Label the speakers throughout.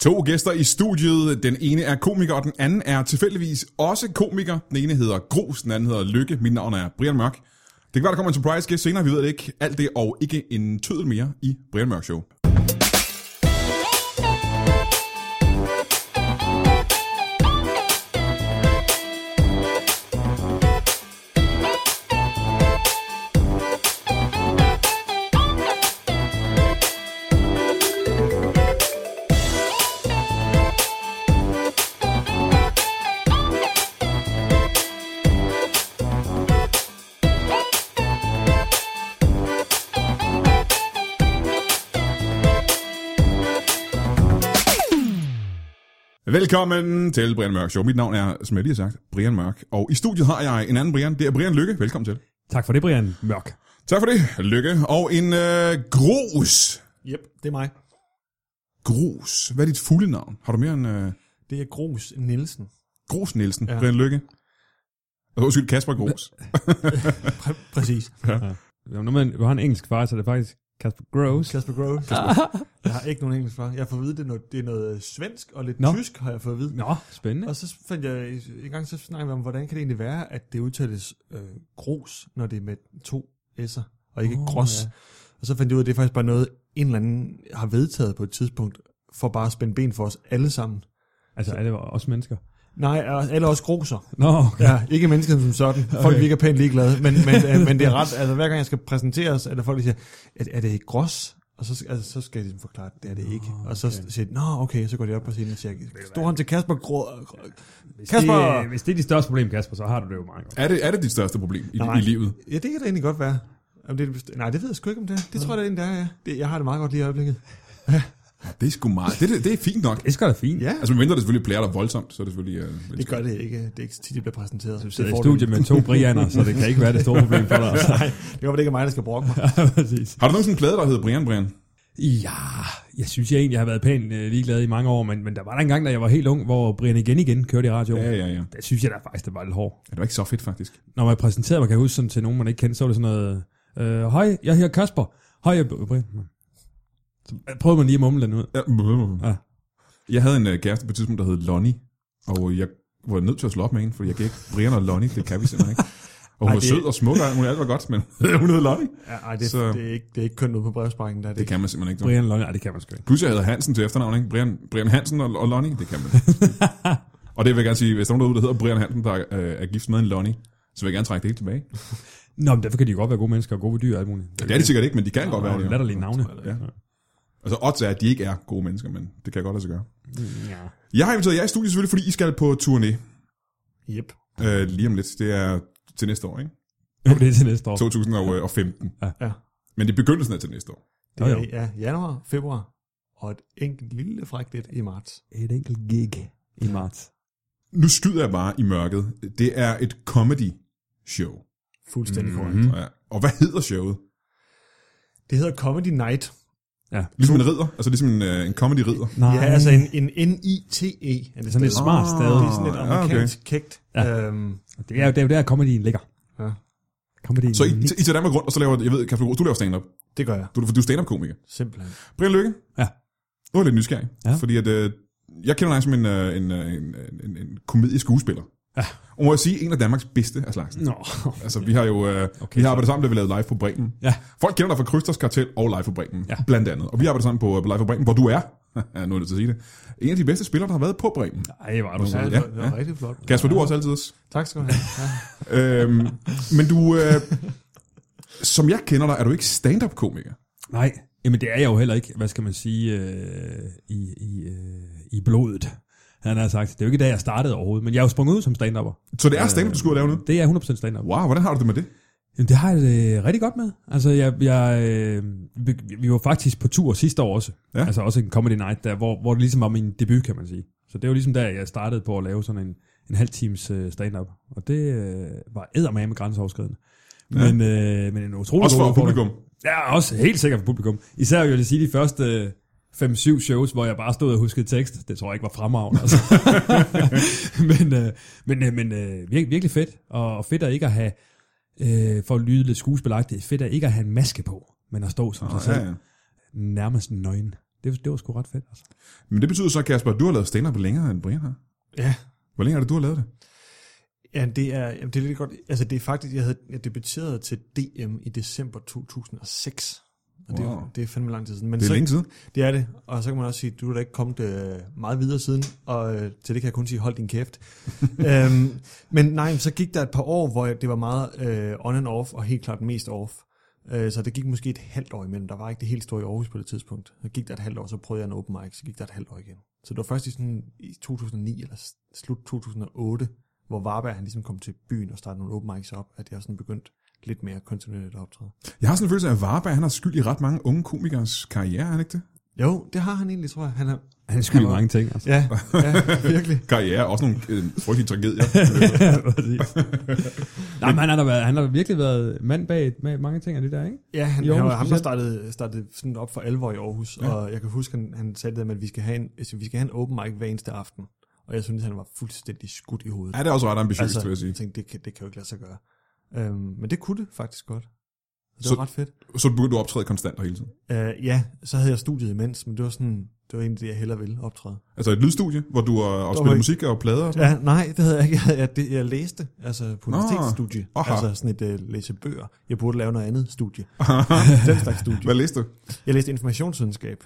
Speaker 1: To gæster i studiet. Den ene er komiker, og den anden er tilfældigvis også komiker. Den ene hedder Gros, den anden hedder Lykke. Mit navn er Brian Mørk. Det kan være, der kommer en surprise gæst senere, vi ved det ikke. Alt det og ikke en tødel mere i Brian Mørk Show. Velkommen til Brian Mørk Show. Mit navn er, som jeg lige har sagt, Brian Mørk. Og i studiet har jeg en anden Brian. Det er Brian Lykke. Velkommen til.
Speaker 2: Tak for det, Brian Mørk.
Speaker 1: Tak for det, Lykke. Og en øh, Gros.
Speaker 3: Jep, det er mig.
Speaker 1: Gros. Hvad er dit fulde navn? Har du mere end øh,
Speaker 3: Det er Grus Nielsen.
Speaker 1: Gros Nielsen? Ja.
Speaker 3: Ja.
Speaker 1: Brian Lykke. Og undskyld, Kasper Gros.
Speaker 3: Præ- præcis.
Speaker 2: Når man har en engelsk far, så er det faktisk Kasper Gross.
Speaker 3: Kasper Grove. Jeg har ikke nogen engelsk fra. Jeg har fået at vide, det er noget, det er noget øh, svensk og lidt
Speaker 2: Nå.
Speaker 3: no. tysk, har jeg fået at vide.
Speaker 2: Nå, spændende.
Speaker 3: Og så fandt jeg, en gang så snakkede vi om, hvordan kan det egentlig være, at det udtales øh, grus, når det er med to s'er, og ikke
Speaker 2: Åh,
Speaker 3: oh, grås.
Speaker 2: ja.
Speaker 3: Ja. Og så fandt jeg ud af, at det er faktisk bare noget, en eller anden har vedtaget på et tidspunkt, for bare at spænde ben for os alle sammen.
Speaker 2: Altså, er det også mennesker?
Speaker 3: Nej, er alle også groser.
Speaker 2: Nå, okay.
Speaker 3: Ja, ikke mennesket som sådan. Folk
Speaker 2: Okay.
Speaker 3: virker pænt ligeglade, men, men, øh, men det er ret. Altså, hver gang jeg skal præsenteres, er der folk, der siger, er, er det ikke grås? Og så, skal- altså, så skal jeg ligesom forklare, det er det ikke.
Speaker 2: Nå,
Speaker 3: Og så
Speaker 2: okay.
Speaker 3: siger de, nå okay, så går de op på scenen og siger, stor hånd til Kasper Grå. Kasper!
Speaker 2: Det, hvis det er dit største problem, Kasper, så har du det jo meget godt.
Speaker 1: Er det, er det dit største problem i,
Speaker 3: Nej.
Speaker 1: i livet?
Speaker 3: Ja, det kan da egentlig godt være. Om det, er det best- nej, det ved jeg sgu ikke, om det er. Det tror jeg da egentlig, det er, ja. Det, jeg har det meget godt lige i øjeblikket.
Speaker 1: Det er sgu meget. Det, det, det er fint nok.
Speaker 2: Det skal da fint.
Speaker 3: Ja,
Speaker 1: Altså, medmindre det selvfølgelig plager dig voldsomt, så er det selvfølgelig... Øh, en-
Speaker 3: det gør det ikke. Det er ikke så tit, jeg bliver præsenteret.
Speaker 2: Du sidder i
Speaker 3: får
Speaker 2: studiet med to Brianer, så det kan ikke være det store problem for dig. altså.
Speaker 3: Nej, det var det ikke er mig, der skal brokke mig.
Speaker 2: Ja, præcis.
Speaker 1: har du nogensinde en plade, der hedder Brian Brian?
Speaker 2: Ja, jeg synes, jeg egentlig har været pænt øh, ligeglad i mange år, men, men der var der en gang, da jeg var helt ung, hvor Brian igen igen kørte i radioen.
Speaker 1: Ja, ja, ja.
Speaker 2: Der synes jeg da faktisk, det var lidt hård.
Speaker 1: Ja, det var ikke så fedt, faktisk.
Speaker 2: Når man præsenterede mig, kan jeg huske sådan til nogen, man ikke kendte, så var det sådan noget, øh, hej, jeg hedder Kasper. Hej, jeg er Brian. Så prøvede man lige at mumle den ud.
Speaker 1: Ja.
Speaker 2: Ja.
Speaker 1: Jeg havde en øh, kæreste på et tidspunkt, der hed Lonnie, og jeg var nødt til at slå op med hende, fordi jeg kan ikke... Brian og Lonnie, det kan vi simpelthen ikke. Og hun
Speaker 3: Ej,
Speaker 1: var
Speaker 3: det-
Speaker 1: sød og smuk, og hun alt var godt, men hun hed Lonnie.
Speaker 3: Ja, ej, det,
Speaker 1: Så-
Speaker 3: det, er ikke, det er ikke kønt ude på brevsprækken. Der er det,
Speaker 1: Det kan man simpelthen ikke. du.
Speaker 2: Brian Longe, nej, det kan man sgu ikke.
Speaker 1: Plus jeg hedder Hansen til efternavn, ikke? Brian, Brian Hansen og, og Lonnie, det kan man. og det vil jeg gerne sige, hvis der er nogen derude, der hedder Brian Hansen, der øh, er gift med en Lonnie, så vil jeg gerne trække det helt tilbage.
Speaker 2: Nå, men derfor kan de jo godt være gode mennesker og gode ved dyr og alt muligt.
Speaker 1: Det er de sikkert ikke, men de kan godt være det. jo.
Speaker 2: latterlige navne.
Speaker 1: Ja. Altså, odds er, at de ikke er gode mennesker, men det kan jeg godt lade sig gøre.
Speaker 2: ja.
Speaker 1: Jeg har inviteret jer i studiet selvfølgelig, fordi I skal på turné
Speaker 3: Jep.
Speaker 1: øh, lige om lidt. Det er til næste år, ikke?
Speaker 2: Jo, det er til næste år.
Speaker 1: 2015.
Speaker 3: Ja.
Speaker 1: Men det er begyndelsen af til næste år.
Speaker 2: Jo,
Speaker 3: Det
Speaker 2: jo.
Speaker 3: er ja, januar, februar og et enkelt lille frækt et i marts.
Speaker 2: Et enkelt gig i marts.
Speaker 1: Nu skyder jeg bare i mørket. Det er et comedy show.
Speaker 3: Fuldstændig
Speaker 1: Mhm.
Speaker 3: mm-hmm. korrekt.
Speaker 2: Mm-hmm.
Speaker 1: Ja. Og hvad hedder showet?
Speaker 3: Det hedder Comedy Night.
Speaker 1: Ligesom en ridder? Altså ligesom en, øh, en comedy ridder?
Speaker 2: Nej,
Speaker 3: Ja, altså en, en N-I-T-E. E. Er
Speaker 2: Sådan
Speaker 3: det
Speaker 2: lidt
Speaker 3: sådan lidt
Speaker 2: smart. stadig.
Speaker 3: Det er sådan lidt
Speaker 1: Ah,
Speaker 3: amerikansk okay. kægt.
Speaker 2: Ja.
Speaker 3: Ja. Øhm,
Speaker 2: det, er jo, det er jo der, comedyen ligger.
Speaker 3: ja,
Speaker 2: Comedyen
Speaker 1: Så I, I tager Danmark rundt, og så laver, jeg ved, Kasper Gros, du laver stand-up.
Speaker 3: det gør jeg.
Speaker 1: Du, du er stand-up-komiker.
Speaker 3: Simpelthen.
Speaker 1: Brian Lykke?
Speaker 2: Ja.
Speaker 1: Nu er jeg lidt nysgerrig,
Speaker 2: Ja.
Speaker 1: ja. fordi at, øh, jeg kender dig som en, øh, en, øh, en, en, en, en komedieskuespiller.
Speaker 2: Ja.
Speaker 1: Og må jeg sige, en af Danmarks bedste af slagsen.
Speaker 2: Nå,
Speaker 1: Altså, vi har jo øh,
Speaker 2: Okay,
Speaker 1: okay, vi har
Speaker 2: så-
Speaker 1: arbejdet sammen, da vi lavede Live på Bremen.
Speaker 2: Ja.
Speaker 1: Folk kender dig fra Krysters Kartel og Live på Bremen,
Speaker 2: Ja.
Speaker 1: ja. blandt andet. Og vi arbejder sammen på, øh, på Live på Bremen, hvor du er, ja, nu er det til at sige det, en af de bedste spillere, der har været på Bremen.
Speaker 2: ej, var du
Speaker 3: Ja,
Speaker 2: så.
Speaker 3: det
Speaker 1: Ja,
Speaker 3: var, det var rigtig flot.
Speaker 1: Kasper, du er også altid os.
Speaker 3: Tak skal du have. Ja.
Speaker 1: øhm, men du, øh, som jeg kender dig, er du ikke stand-up-komiker.
Speaker 2: Nej, jamen det er jeg jo heller ikke, hvad skal man sige, øh, i, i, øh, i blodet. Han har sagt, det er jo ikke da jeg startede overhovedet, men jeg er jo sprunget ud som stand-upper.
Speaker 1: Så det er stand-up, du skulle lave nu?
Speaker 2: Det er 100% stand-up.
Speaker 1: Wow, hvordan har du det med det?
Speaker 2: Jamen, det har jeg det rigtig godt med. Altså, jeg, jeg, øh, vi- vi var faktisk på tur sidste år også. Ja.
Speaker 1: Ja.
Speaker 2: Altså også en comedy night, der, hvor, hvor det ligesom var min debut, kan man sige. Så det var ligesom der, jeg startede på at lave sådan en, en halv times øh, stand-up. Og det øh, var eddermame grænseoverskridende. Ja.
Speaker 1: Ja.
Speaker 2: Men, øh, men en utrolig
Speaker 1: Også
Speaker 2: god
Speaker 1: for
Speaker 2: udfordring.
Speaker 1: publikum.
Speaker 2: Ja, også helt sikkert for publikum. Især vil jeg sige de første øh, 5-7 shows, hvor jeg bare stod og huskede tekst. Det tror jeg ikke var fremragende. Altså. men øh, men, øh, men øh, vir- virkelig fedt. Og og fedt at ikke at have, øh, for at lyde lidt skuespilagtigt, fedt at ikke at have en maske på, men at stå som sig
Speaker 1: Oh,
Speaker 2: selv.
Speaker 1: ja, ja.
Speaker 2: Nærmest nøgen. det, det var sgu ret fedt. Altså.
Speaker 1: Men det betyder så, Kasper, at du har lavet stand-up længere end Brian har.
Speaker 3: Ja.
Speaker 1: Hvor længe er det, du har lavet det?
Speaker 3: Ja, det er, jamen, det er lidt godt. Altså, det er faktisk, jeg havde jeg debuterede til DM i december 2006. Og det,
Speaker 1: Wow.
Speaker 3: er, det er fandme lang tid siden. Men
Speaker 1: Det er
Speaker 3: så,
Speaker 1: længe siden.
Speaker 3: Det er det. Og så kan man også sige, du er da ikke kommet øh, meget videre siden, og øh, til det kan jeg kun sige, hold din kæft. øhm, men nej, men så gik der et par år, hvor jeg- det var meget øh, on and off, og helt klart mest off. Øh, så det gik måske et halvt år imellem. Der var ikke det helt store i Aarhus på det tidspunkt. Så gik der et halvt år, så prøvede jeg en open mic, så gik der et halvt år igen. Så det var først i, sådan, i 2009, eller s- slut 2008, hvor Varberg han ligesom kom til byen og startede nogle open mics op, at jeg sådan begyndte lidt mere kontinuerligt at optræde.
Speaker 1: Jeg har sådan en følelse af, at Varberg, han har skyld i ret mange unge komikers karriere, er han ikke det?
Speaker 3: Jo, det har han egentlig, tror jeg. Han er,
Speaker 2: Han skulle
Speaker 3: i
Speaker 2: mange ting. Altså.
Speaker 3: ja, ja, virkelig.
Speaker 1: Karriere, også nogle øh, frygtelige tragedier.
Speaker 2: Nej, men han har, da været, han har virkelig været mand bag med mange ting af det der, ikke?
Speaker 3: Ja, han,
Speaker 2: I
Speaker 3: han
Speaker 2: Aarhus
Speaker 3: var ham, der
Speaker 2: specielt?
Speaker 3: startede, startede sådan op for alvor i Aarhus, ja. og jeg kan huske, han, han sagde det der med, at vi skal, have en, altså, vi skal have en open mic hver eneste aften, og jeg synes, han var fuldstændig skudt i hovedet.
Speaker 1: ja, det er også ret ambitiøst, altså, vil jeg sige.
Speaker 3: jeg tænkte, det kan, det kan jo ikke lade sig gøre. Øhm, men det kunne det faktisk godt. Så det
Speaker 1: Så-
Speaker 3: så, var ret fedt.
Speaker 1: Så begyndte du at optræde konstant og hele tiden.
Speaker 3: Øh, ja, så havde jeg studiet imens, men det var sådan, det var egentlig det, jeg hellere ville optræde.
Speaker 1: Altså et lydstudie, hvor du har og spillet
Speaker 3: ikke-
Speaker 1: musik og plader og sådan
Speaker 3: Ja, nej, det havde jeg ikke. Jeg, jeg, det, jeg læste, altså på
Speaker 1: Nå,
Speaker 3: universitetsstudie,
Speaker 1: aha.
Speaker 3: altså sådan et øh, læsebøger. Jeg burde lave noget andet studie. Den slags studie.
Speaker 1: Hvad læste du?
Speaker 3: Jeg læste informationsvidenskab.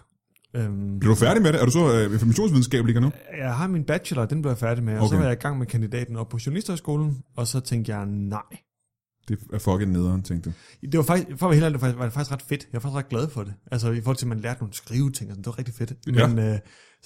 Speaker 3: Øhm,
Speaker 1: Blev du færdig med det? Er du så øh, informationsvidenskab ligger nu?
Speaker 3: Jeg har min bachelor, den blev jeg færdig med, og
Speaker 1: Okay.
Speaker 3: så var jeg i gang med kandidaten op på Journalisterhøjskolen, og så tænkte jeg, nej.
Speaker 1: Det er fucking nederen, tænkte du.
Speaker 3: Det var faktisk, for at være helt ærlig, det var faktisk- var det faktisk ret fedt. Jeg var faktisk ret glad for det. Altså i forhold til, at man lærte nogle skriveting, og sådan, det var rigtig fedt. Men,
Speaker 1: Ja.
Speaker 3: øh, så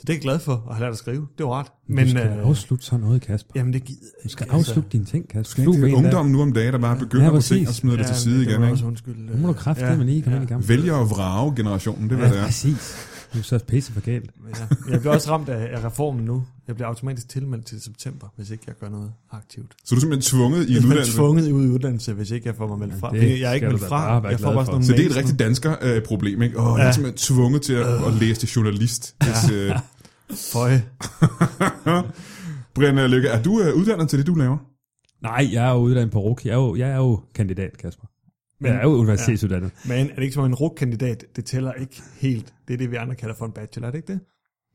Speaker 3: det er jeg glad for, at have lært at skrive. Det var ret.
Speaker 2: Men,
Speaker 3: Men,
Speaker 2: du skal øh, altså.
Speaker 3: øh,
Speaker 2: afslutte sådan noget, Kasper.
Speaker 3: jamen det gider altså.
Speaker 2: Du skal afslutte dine ting, Kasper.
Speaker 1: Det er ikke det ungdom nu om dagen, der bare begynder
Speaker 2: Ja,
Speaker 1: på ting
Speaker 2: præcis.
Speaker 1: og smider det til side
Speaker 3: det
Speaker 1: igen.
Speaker 3: må jeg
Speaker 1: Ikke?
Speaker 3: Også, undskyld, øh,
Speaker 2: Nu må du kræfte ja, lige komme ja. ind i gang.
Speaker 1: Vælger at vrage generationen, det er, hvad det
Speaker 2: Ja,
Speaker 1: er.
Speaker 2: præcis. Du er så pisse for galt.
Speaker 3: Ja. Jeg bliver også ramt af, af reformen nu. Jeg bliver automatisk tilmeldt til september, hvis ikke jeg gør noget aktivt.
Speaker 1: Så er du simpelthen tvunget i en
Speaker 3: Jeg bliver
Speaker 1: uddannelse.
Speaker 3: tvunget ud i uddannelse, hvis ikke jeg får mig meldt fra.
Speaker 2: det
Speaker 3: Fordi jeg er ikke
Speaker 2: skal du
Speaker 3: meldt
Speaker 2: da
Speaker 3: fra.
Speaker 2: bare være
Speaker 3: Jeg får
Speaker 2: glad
Speaker 3: bare
Speaker 2: for.
Speaker 3: sådan nogle
Speaker 1: Så det er et
Speaker 3: mails nu.
Speaker 1: rigtigt dansker øh, problem, ikke? Åh, jeg er
Speaker 3: Ja.
Speaker 1: simpelthen tvunget til
Speaker 2: Øh.
Speaker 1: at, at læse til journalist. Hvis, øh,
Speaker 3: Føj.
Speaker 1: Brian øh, Lykke, er du øh, uddannet til det, du laver?
Speaker 2: Nej, jeg er jo uddannet på RUK. Jeg er jo, jeg er jo kandidat, Kasper. Jeg er jo universitetsuddannet. Ja.
Speaker 3: Men er det ikke som en rugkandidat? Det tæller ikke helt. Det er det, vi andre kalder for en bachelor, er det ikke det?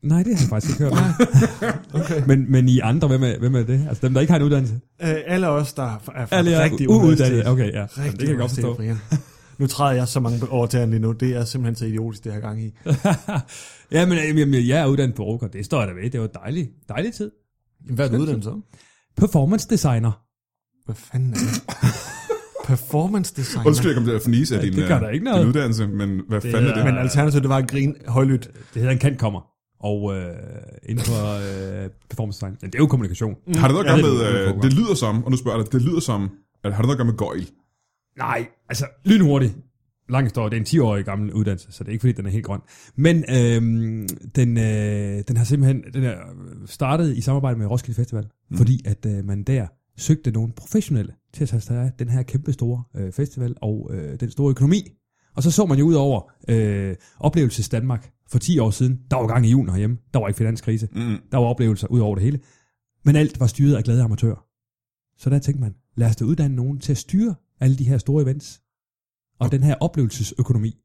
Speaker 2: Nej, det har jeg faktisk ikke hørt. okay. men, men I andre, hvem er, hvem er det? Altså dem, der ikke har en uddannelse?
Speaker 3: Øh, alle os, der er fra
Speaker 2: Alle er
Speaker 3: rigtig
Speaker 2: uuddannede. Okay, ja. Jamen,
Speaker 3: Rigtig
Speaker 2: det kan jeg godt forstå.
Speaker 3: Nu træder jeg så mange over til lige nu. Det er simpelthen så idiotisk, det her gang i.
Speaker 2: ja, men jamen, jamen, jeg er uddannet på RUK, og det står jeg da ved. Det var dejlig, dejlig tid.
Speaker 3: Hvad er du uddannet så?
Speaker 2: Performance designer.
Speaker 3: Hvad fanden er det? Performance designer.
Speaker 1: Undskyld, jeg kom til at fnise af
Speaker 2: Ja,
Speaker 1: din,
Speaker 2: det gør
Speaker 1: øh,
Speaker 2: der ikke noget.
Speaker 1: din uddannelse, men hvad
Speaker 2: Det
Speaker 1: fanden er
Speaker 2: er-
Speaker 1: det?
Speaker 3: Men alternativet, det var at grine højlydt.
Speaker 2: Det hedder en kantkommer. Og øh, inden for øh, performance design. Men det er jo kommunikation.
Speaker 1: Har det noget at
Speaker 2: Ja,
Speaker 1: gøre
Speaker 2: det
Speaker 1: med,
Speaker 2: er det,
Speaker 1: øh,
Speaker 2: det
Speaker 1: det lyder som, og nu spørger jeg dig, det lyder som, at har det noget at gøre med gøjl?
Speaker 2: Nej, altså lynhurtigt. Lang historie. Det er en 10-årig gammel uddannelse, så det er ikke fordi, den er helt grøn. Men øhm, den, øh, den har simpelthen den er startet i samarbejde med Roskilde Festival, mm. fordi at øh, man der søgte nogle professionelle til at tage sig af den her kæmpe store øh, festival og øh, den store økonomi. Og så så man jo ud over øh, oplevelses Danmark for 10 år siden. Der var gang i julen herhjemme. Der var ikke finanskrise.
Speaker 1: Mm.
Speaker 2: Der var oplevelser ud over det hele. Men alt var styret af glade amatører. Så der tænkte man, lad os da uddanne nogen til at styre alle de her store events. Og den her oplevelsesøkonomi.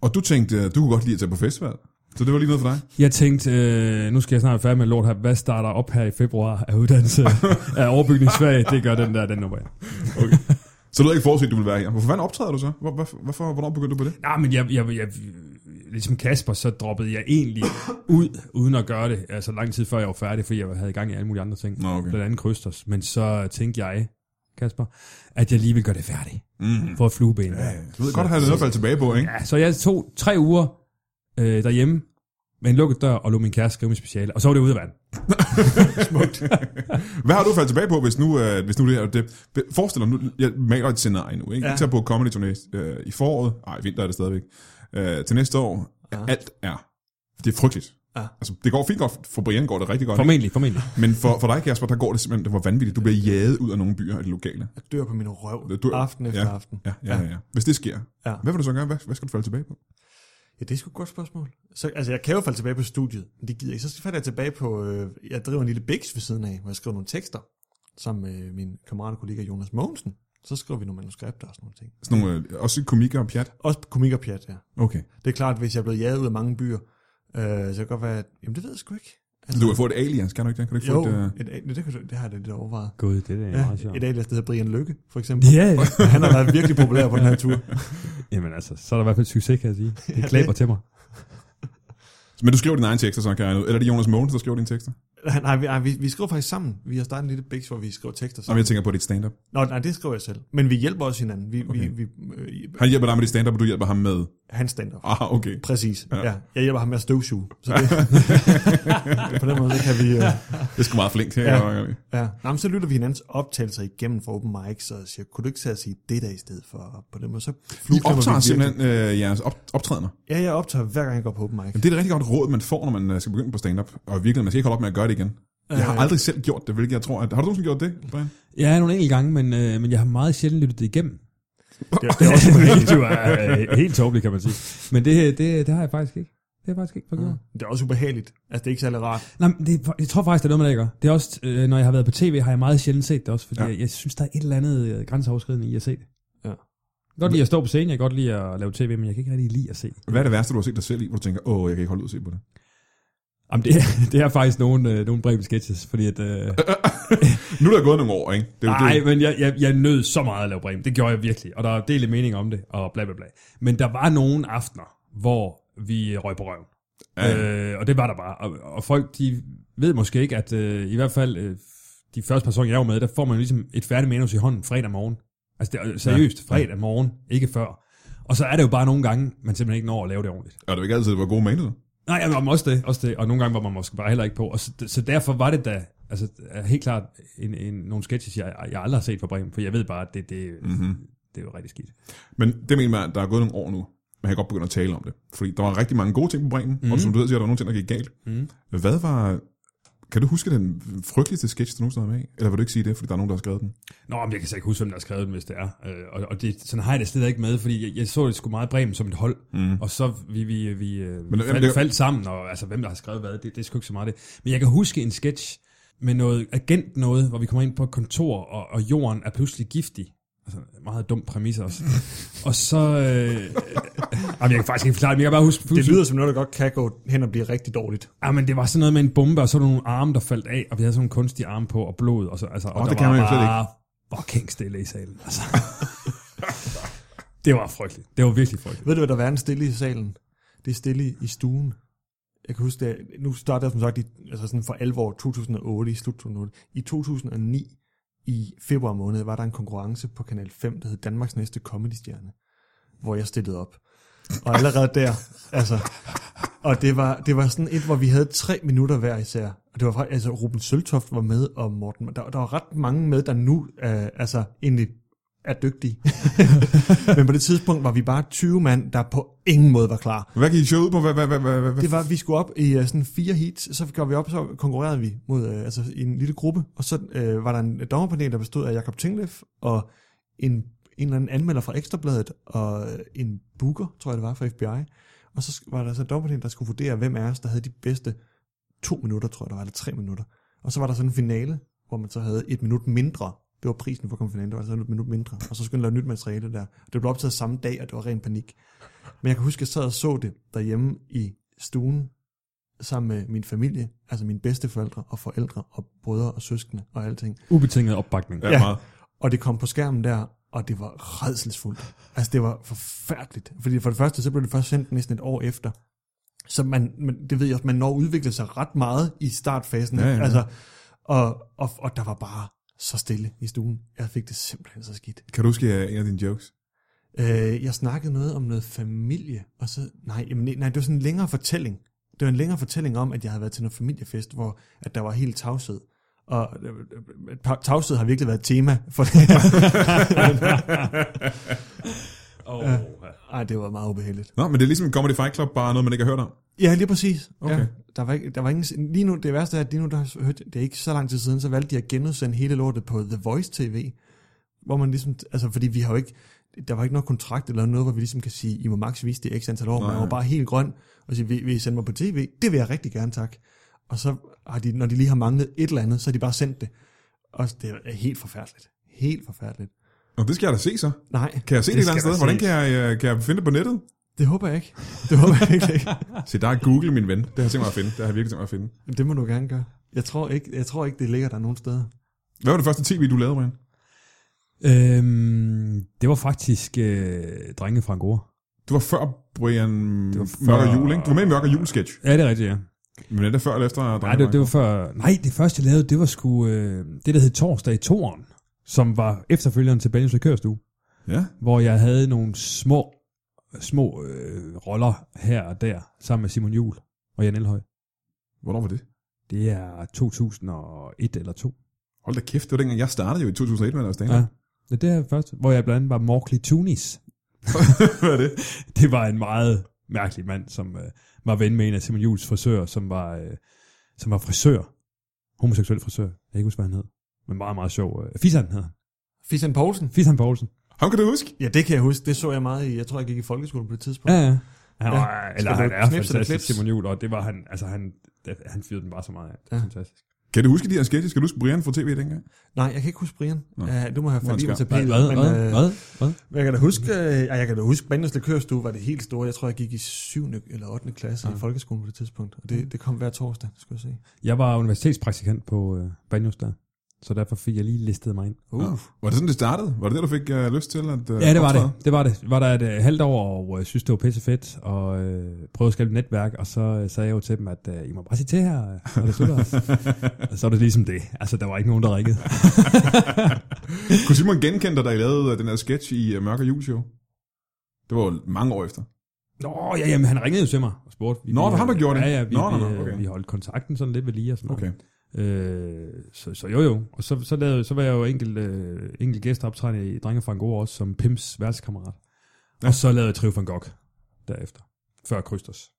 Speaker 1: Og du tænkte, øh, du kunne godt lide at tage på festival, så det var lige noget for dig.
Speaker 2: Jeg tænkte, øh, nu skal jeg snart være færdig med lort her. Hvad starter op her i februar af uddannelse af overbygningsfag? Det gør den der, den nummer.
Speaker 1: Okay. så du havde ikke forudset, at du ville være her. Hvorfor fanden optræder du så? Hvor, hvor, hvorfor, hvornår begyndte du på det?
Speaker 2: Nej, men jeg, jeg, jeg, ligesom Kasper, så droppede jeg egentlig ud, uden at gøre det, altså lang tid før jeg var færdig, fordi jeg havde i gang i alle mulige andre ting.
Speaker 1: Nå, okay.
Speaker 2: Blandt andet krysters. Men så tænkte jeg, Kasper, at jeg lige vil gøre det færdigt.
Speaker 1: Mm.
Speaker 2: For at flueben.
Speaker 1: Ja, ja. du ved godt, at have noget at falde tilbage på, ikke?
Speaker 2: Ja, så jeg tog tre uger øh, derhjemme med en lukket dør og lå min kæreste skrive min speciale. Og så var det ude af verden.
Speaker 1: Hvad har du faldet tilbage på, hvis nu, øh, hvis nu det her... Det, forestil dig nu, jeg maler et scenarie nu, ikke? Ja.
Speaker 3: Ja.
Speaker 1: Jeg tager på Comedy Tour næste, øh, i foråret. Nej, vinter er det stadigvæk. Øh, til næste år. Ja. Alt er... Det er frygteligt.
Speaker 3: Ja.
Speaker 1: Altså, det går fint godt. For Brian går det rigtig godt. ikke?
Speaker 2: Formentlig, formentlig.
Speaker 1: Men for, for dig, Kasper, der går det simpelthen... Det var vanvittigt. Du bliver jaget ud af nogle byer af det lokale.
Speaker 3: Jeg dør på min røv.
Speaker 1: Det dør-
Speaker 3: Aften efter
Speaker 1: ja.
Speaker 3: aften.
Speaker 1: Ja, ja, ja. ja. Hvis det sker,
Speaker 3: Ja.
Speaker 1: hvad vil du så gøre? Hvad, hvad skal du falde tilbage på?
Speaker 3: Ja, det er sgu et godt spørgsmål. Så, altså, jeg kan jo falde tilbage på studiet, men det gider jeg ikke. Så falder jeg tilbage på, øh, jeg driver en lille biks ved siden af, hvor jeg skriver nogle tekster, sammen med min kammerat og kollega Jonas Mogensen. Så skriver vi nogle manuskripter og sådan nogle ting.
Speaker 1: Sådan nogle, øh, også komikker og pjat?
Speaker 3: Også komik og pjat, ja.
Speaker 1: Okay.
Speaker 3: Det er klart, hvis jeg er blevet jaget ud af mange byer, Øh, så det kan godt være, at, jamen det ved jeg sgu ikke.
Speaker 1: Du kan få et alias, kan du ikke det? Kan du ikke
Speaker 3: Jo,
Speaker 1: få et, øh,
Speaker 3: et, et, det, kan du, det har jeg da lidt overvejet.
Speaker 2: Gud, det er
Speaker 3: Ja,
Speaker 2: meget sjovt.
Speaker 3: et alias, der hedder Brian Lykke, for eksempel.
Speaker 2: Ja, ja.
Speaker 3: Han har været virkelig populær på den her tur.
Speaker 2: Jamen altså, så er der i hvert fald succes, kan jeg sige. Det
Speaker 3: det-
Speaker 2: klæber til mig.
Speaker 1: øh- Men du skriver dine egne tekster, så kan jeg Eller er det Jonas Mogens, der skriver dine tekster?
Speaker 3: Nej, vi, nej, vi, vi skriver faktisk sammen. Vi har startet en lille biks, hvor vi skriver tekster
Speaker 1: Nå, men
Speaker 3: sammen.
Speaker 1: jeg tænker på dit stand-up.
Speaker 3: Nå, nej, det skriver jeg selv. Men vi hjælper også hinanden. Vi, okay. vi, vi, øh,
Speaker 1: Han hjælper dig med dit stand-up, og du hjælper ham med...
Speaker 3: han stand
Speaker 1: Ah, okay.
Speaker 3: Præcis,
Speaker 1: Ja.
Speaker 3: ja. ja. Jeg hjælper ham med at støvsuge. Så det, på den måde, så kan vi... Øh,
Speaker 1: Det er sgu meget flinkt her.
Speaker 3: Ja.
Speaker 1: Ja.
Speaker 3: ja. Nå, men så lytter vi hinandens optagelser igennem for open mics, og siger, kunne du ikke tage at sige det der i stedet for? Og På den måde, så
Speaker 1: I
Speaker 3: flueknemmer
Speaker 1: optager
Speaker 3: virkelig.
Speaker 1: simpelthen øh, jeres op- optrædener.
Speaker 3: Ja, jeg optager hver gang, jeg går på open mic.
Speaker 1: Jamen, det er et rigtig godt råd, man får, når man øh, skal begynde på stand-up. Og virkelig, man skal ikke holde op med at gøre det igen. Jeg har
Speaker 3: Øh.
Speaker 1: aldrig selv gjort det, hvilket jeg tror... At... Har du nogensinde gjort det, Brian?
Speaker 2: Jeg er nogle enkelte gange, men, øh, men jeg har meget sjældent lyttet det igennem.
Speaker 3: Det, det er også
Speaker 2: det er øh, helt tåbeligt, kan man sige. Men det, det, det har jeg faktisk ikke. Det har jeg faktisk ikke fået gjort.
Speaker 3: Det er også ubehageligt. Altså, det er ikke særlig rart.
Speaker 2: Nej, men det, jeg tror faktisk, det er noget, man ikke gør. Det er også, øh, når jeg har været på tv, har jeg meget sjældent set det også, fordi
Speaker 1: Ja.
Speaker 2: ja. jeg, jeg synes, der er et eller andet øh, grænseoverskridende i at se det. Jeg
Speaker 3: Ja.
Speaker 2: kan godt lide at stå på scenen, jeg kan godt lide at lave tv, men jeg kan ikke rigtig lide at se det.
Speaker 1: Hvad er det værste, du har set dig selv i, hvor du tænker, åh, jeg kan ikke holde ud at se på det?
Speaker 2: Jamen, det, er- det er faktisk nogle, øh, nogle breve sketches, fordi at... Øh,
Speaker 1: Nu er der gået nogle år, ikke? Det er jo
Speaker 2: Nej,
Speaker 1: det.
Speaker 2: men jeg, jeg, jeg nød så meget at lave Bremen. Det gjorde jeg virkelig. Og der er delt mening om det, og bla bla bla. Men der var nogle aftener, hvor vi røg på røven. Ja. Øh, og det var der bare. Og, og folk, de ved måske ikke, at øh, i hvert fald øh, de første personer, jeg var med, der får man jo ligesom et færdigt manus i hånden fredag morgen. Altså det er seriøst,
Speaker 1: Ja.
Speaker 2: fredag morgen, ikke før. Og så er det jo bare nogle gange, man simpelthen ikke når at lave det ordentligt.
Speaker 1: Og det er jo ikke altid, det var gode manuser.
Speaker 2: Nej, jamen, jamen, også det, også det. Og nogle gange var man måske bare heller ikke på. Og så, så derfor var det da altså, er helt klart en, en, nogle sketches, jeg, jeg aldrig har set fra Bremen, for jeg ved bare, at det, det, mm-hmm. det er jo rigtig skidt.
Speaker 1: Men det mener man, at der er gået nogle år nu. Man kan godt begynde at tale om det. Fordi der var rigtig mange gode ting på Bremen,
Speaker 3: Mhm.
Speaker 1: mm. og som du ved, siger, der var nogle ting, der gik galt. Mm. Hvad var... Kan du huske den frygteligste sketch, du nogensinde har med i? Eller vil du ikke sige det, fordi der er nogen, der har skrevet den?
Speaker 2: Nå, men jeg kan så ikke huske, hvem der har skrevet den, hvis det er. Øh, og, og det, sådan har jeg det slet ikke med, fordi jeg, jeg så det sgu meget Bremen som et hold. Mm. Og så vi, vi, vi,
Speaker 1: Men
Speaker 2: øh, vi
Speaker 1: det-
Speaker 2: faldt,
Speaker 1: det-
Speaker 2: faldt sammen, og altså, hvem der har skrevet hvad, det, det er sgu ikke så meget det. Men jeg kan huske en sketch med noget agent noget, hvor vi kommer ind på et kontor, og, og jorden er pludselig giftig. Altså, meget dum præmis også. og så... Øh, øh, jamen, jeg kan faktisk ikke forklare det, men jeg kan bare huske...
Speaker 3: Det lyder som noget, der godt kan gå hen og blive rigtig dårligt.
Speaker 2: Ja, men det var sådan noget med en bombe, og så var der nogle arme, der faldt af, og vi havde sådan nogle kunstige arme på, og blod, og, så, altså, og
Speaker 1: Åh,
Speaker 2: der
Speaker 1: det kan
Speaker 2: var
Speaker 1: man jo slet
Speaker 2: bare fucking stille i salen. Altså. det var frygteligt. Det var virkelig frygteligt.
Speaker 3: Ved du, hvad der er verden stille i salen? Det er stille i stuen. Jeg kan huske, det, nu startede jeg som sagt i, altså sådan for alvor 2008, i slut 2008. I 2009, i februar måned, var der en konkurrence på Kanal 5, der hed Danmarks Næste Comedy Stjerne, hvor jeg stillede op. Og allerede der, altså... Og det var, det var sådan et, hvor vi havde tre minutter hver især. Og det var faktisk, altså Ruben Søltoft var med, og Morten, der, der var ret mange med, der nu øh, altså egentlig er dygtige. Men på det tidspunkt var vi bare 20 mand, der på ingen måde var klar.
Speaker 1: Hvad gik I ud på? Hvad, hvad, hvad, hvad, hvad?
Speaker 3: Det var, vi skulle op i uh, sådan fire heats, så gjorde vi op, så konkurrerede vi mod uh, altså i en lille gruppe, og så uh, var der en dommerpanel, der bestod af Jakob Tingleff og en, en eller anden anmelder fra Ekstrabladet og øh, en booker, tror jeg det var, fra FBI. Og så sk- var der så en dommerpanel, der skulle vurdere, hvem af os, der havde de bedste to minutter, tror jeg der var, eller tre minutter. Og så var der sådan en finale, hvor man så havde et minut mindre. Det var prisen for at komme i finalen, det var altså et minut mindre. Og så skulle man lave nyt materiale der. Det blev optaget samme dag, og det var ren panik. Men jeg kan huske, at jeg sad og så det derhjemme i stuen, sammen med min familie, altså mine bedsteforældre og forældre og brødre og søskende og alting.
Speaker 2: Ubetinget opbakning.
Speaker 1: Ja,
Speaker 3: Ja.
Speaker 1: meget.
Speaker 3: Og det kom på skærmen der, og det var redselsfuldt. Altså det var forfærdeligt. Fordi for det første, så blev det først sendt næsten et år efter. Så man, man det ved jeg også, man når at udvikle sig ret meget i startfasen.
Speaker 1: Ja, ja, ja.
Speaker 3: Altså, og, og, og der var bare så stille i stuen. Jeg fik det simpelthen så skidt.
Speaker 1: Kan du huske øh, en af dine jokes?
Speaker 3: Øh, jeg snakkede noget om noget familie, og så, nej, jamen, nej, det var sådan en længere fortælling. Det var en længere fortælling om, at jeg havde været til noget familiefest, hvor at der var helt tavshed. Og øh, øh, tav- tavshed har virkelig været et tema for det her.
Speaker 2: Oh, ja.
Speaker 3: Ej, det var meget ubehageligt.
Speaker 1: Nå, men det er ligesom Comedy Fight Club, bare noget, man ikke har hørt om.
Speaker 3: Ja, lige præcis.
Speaker 1: Okay.
Speaker 3: Ja, der var, ikke, der var ingen, lige nu, det værste er, at lige nu, der har hørt, det er ikke så lang tid siden, så valgte de at genudsende hele lortet på The Voice TV, hvor man ligesom, altså fordi vi har jo ikke, der var ikke noget kontrakt eller noget, hvor vi ligesom kan sige, I må maks vise det i x antal år,
Speaker 1: Nej.
Speaker 3: man var bare helt grøn, og sige, vil, vil I sende mig på tv? Det vil jeg rigtig gerne, tak. Og så har de, når de lige har manglet et eller andet, så har de bare sendt det. Og det er helt forfærdeligt. Helt forfærdeligt.
Speaker 1: Og det skal jeg da se så.
Speaker 3: Nej.
Speaker 1: Kan jeg se det, et
Speaker 3: Det
Speaker 1: eller andet sted?
Speaker 3: skal der
Speaker 1: Hvordan
Speaker 3: ses.
Speaker 1: kan jeg, øh, kan jeg finde det på nettet?
Speaker 3: Det håber jeg ikke. Det håber jeg virkelig ikke.
Speaker 1: Se, der er Google, min ven. Det har jeg tænkt mig at finde. Det har jeg virkelig tænkt mig at finde.
Speaker 3: Men Det må du gerne gøre. Jeg tror ikke, jeg tror ikke det ligger der nogen steder.
Speaker 1: Hvad var det første tv, du lavede, Brian?
Speaker 2: Øhm, det var faktisk øh, drenge fra Angora.
Speaker 1: Det var før Brian det
Speaker 2: var
Speaker 1: var
Speaker 2: før-
Speaker 1: før... Mørk og Jul, ikke? Du var med i Mørk og Jul-sketch.
Speaker 2: Ja, det er rigtigt, ja.
Speaker 1: Men er det før eller efter?
Speaker 2: Nej, det, det var før... Nej, det første, jeg lavede, det var sgu... Øh, det, der hed Torsdag i Toren, som var efterfølgeren til Benjamin Kørstue,
Speaker 1: Ja.
Speaker 2: hvor jeg havde nogle små, små øh, roller her og der, sammen med Simon Jul og Jan Elhøj.
Speaker 1: Hvornår var det?
Speaker 2: Det er 2001 eller 2.
Speaker 1: Hold da kæft, det var dengang, jeg startede jo i 2001 med at lave stand
Speaker 2: Ja. ja. Det er først, hvor jeg blandt andet var Morkley Tunis.
Speaker 1: Hvad er det?
Speaker 2: Det var en meget mærkelig mand, som øh, var ven med en af Simon Jules frisører, som var, øh, som var frisør. Homoseksuel frisør. Jeg kan ikke huske, hvad han hed. Men meget, meget sjov. Øh, Fisan hed han.
Speaker 3: Fisan Poulsen?
Speaker 2: Fisan Poulsen.
Speaker 1: Ham kan du huske?
Speaker 3: Ja, det kan jeg huske. Det så jeg meget i. Jeg tror, jeg gik i folkeskole på det tidspunkt.
Speaker 2: Ja,
Speaker 3: Ja.
Speaker 2: ja. Han,
Speaker 3: Ja.
Speaker 2: var, eller han
Speaker 3: Skal du
Speaker 2: er
Speaker 3: knipse eller
Speaker 2: fantastisk,
Speaker 3: klips?
Speaker 2: Simon Juhl, og det var han, altså han, det- han fyrede den bare så meget af. Det er
Speaker 3: Ja.
Speaker 2: fantastisk.
Speaker 1: Kan du huske de her sketches? Kan du huske Brian fra tv dengang?
Speaker 3: Nej, jeg kan ikke huske Brian.
Speaker 1: Nå.
Speaker 3: Ja, du må have
Speaker 1: Hvor er
Speaker 3: faldet i
Speaker 1: han
Speaker 3: mig til
Speaker 1: skam?
Speaker 2: Hvad,
Speaker 3: pæl.
Speaker 2: hvad,
Speaker 3: men,
Speaker 2: hvad,
Speaker 3: øh,
Speaker 2: hvad, hvad?
Speaker 3: men Jeg kan da huske, øh, ja, jeg kan da huske, Bandens Likørstue var det helt store. Jeg tror, jeg gik i 7. eller 8. klasse ja. i folkeskolen på det tidspunkt. Og det, det kom hver torsdag, skulle jeg se.
Speaker 2: Jeg var universitetspraktikant på øh, Banjos der, så derfor fik jeg lige listet mig ind.
Speaker 1: Uh. Ja. Var det sådan, det startede? Var det der, du fik uh, lyst til at uh,
Speaker 2: Ja, det var det. Det var det. Var der et øh, halvt år, og jeg synes, det var pisse fedt, og øh, prøvede at skabe et netværk, og så øh, sagde jeg jo til dem, at øh, I må bare sige til her, øh, når det slutter. og så er det ligesom det. Altså, der var ikke nogen, der ringede.
Speaker 1: Kunne Simon genkende dig, da I lavede øh, den her sketch i uh, Mørk og Jul Show? Det var jo mange år efter.
Speaker 2: Nå, ja, jamen, han ringede jo til mig og spurgte. Vi,
Speaker 1: Nå,
Speaker 2: vi,
Speaker 1: det var ham, der
Speaker 2: øh,
Speaker 1: gjorde det.
Speaker 2: Ja, ja, vi,
Speaker 1: Nå, nå,
Speaker 2: vi,
Speaker 1: nå,
Speaker 2: øh,
Speaker 1: okay.
Speaker 2: vi holdt kontakten sådan lidt ved lige og sådan
Speaker 1: Okay.
Speaker 2: noget. Øh, så, så jo jo, og så, så, lavede, så var jeg jo enkelt, øh, enkelt gæsteoptræder i Drenge fra Angora også, som Pims værtskammerat. Ja. Og så lavede jeg Triv van Gogh derefter, før Krysters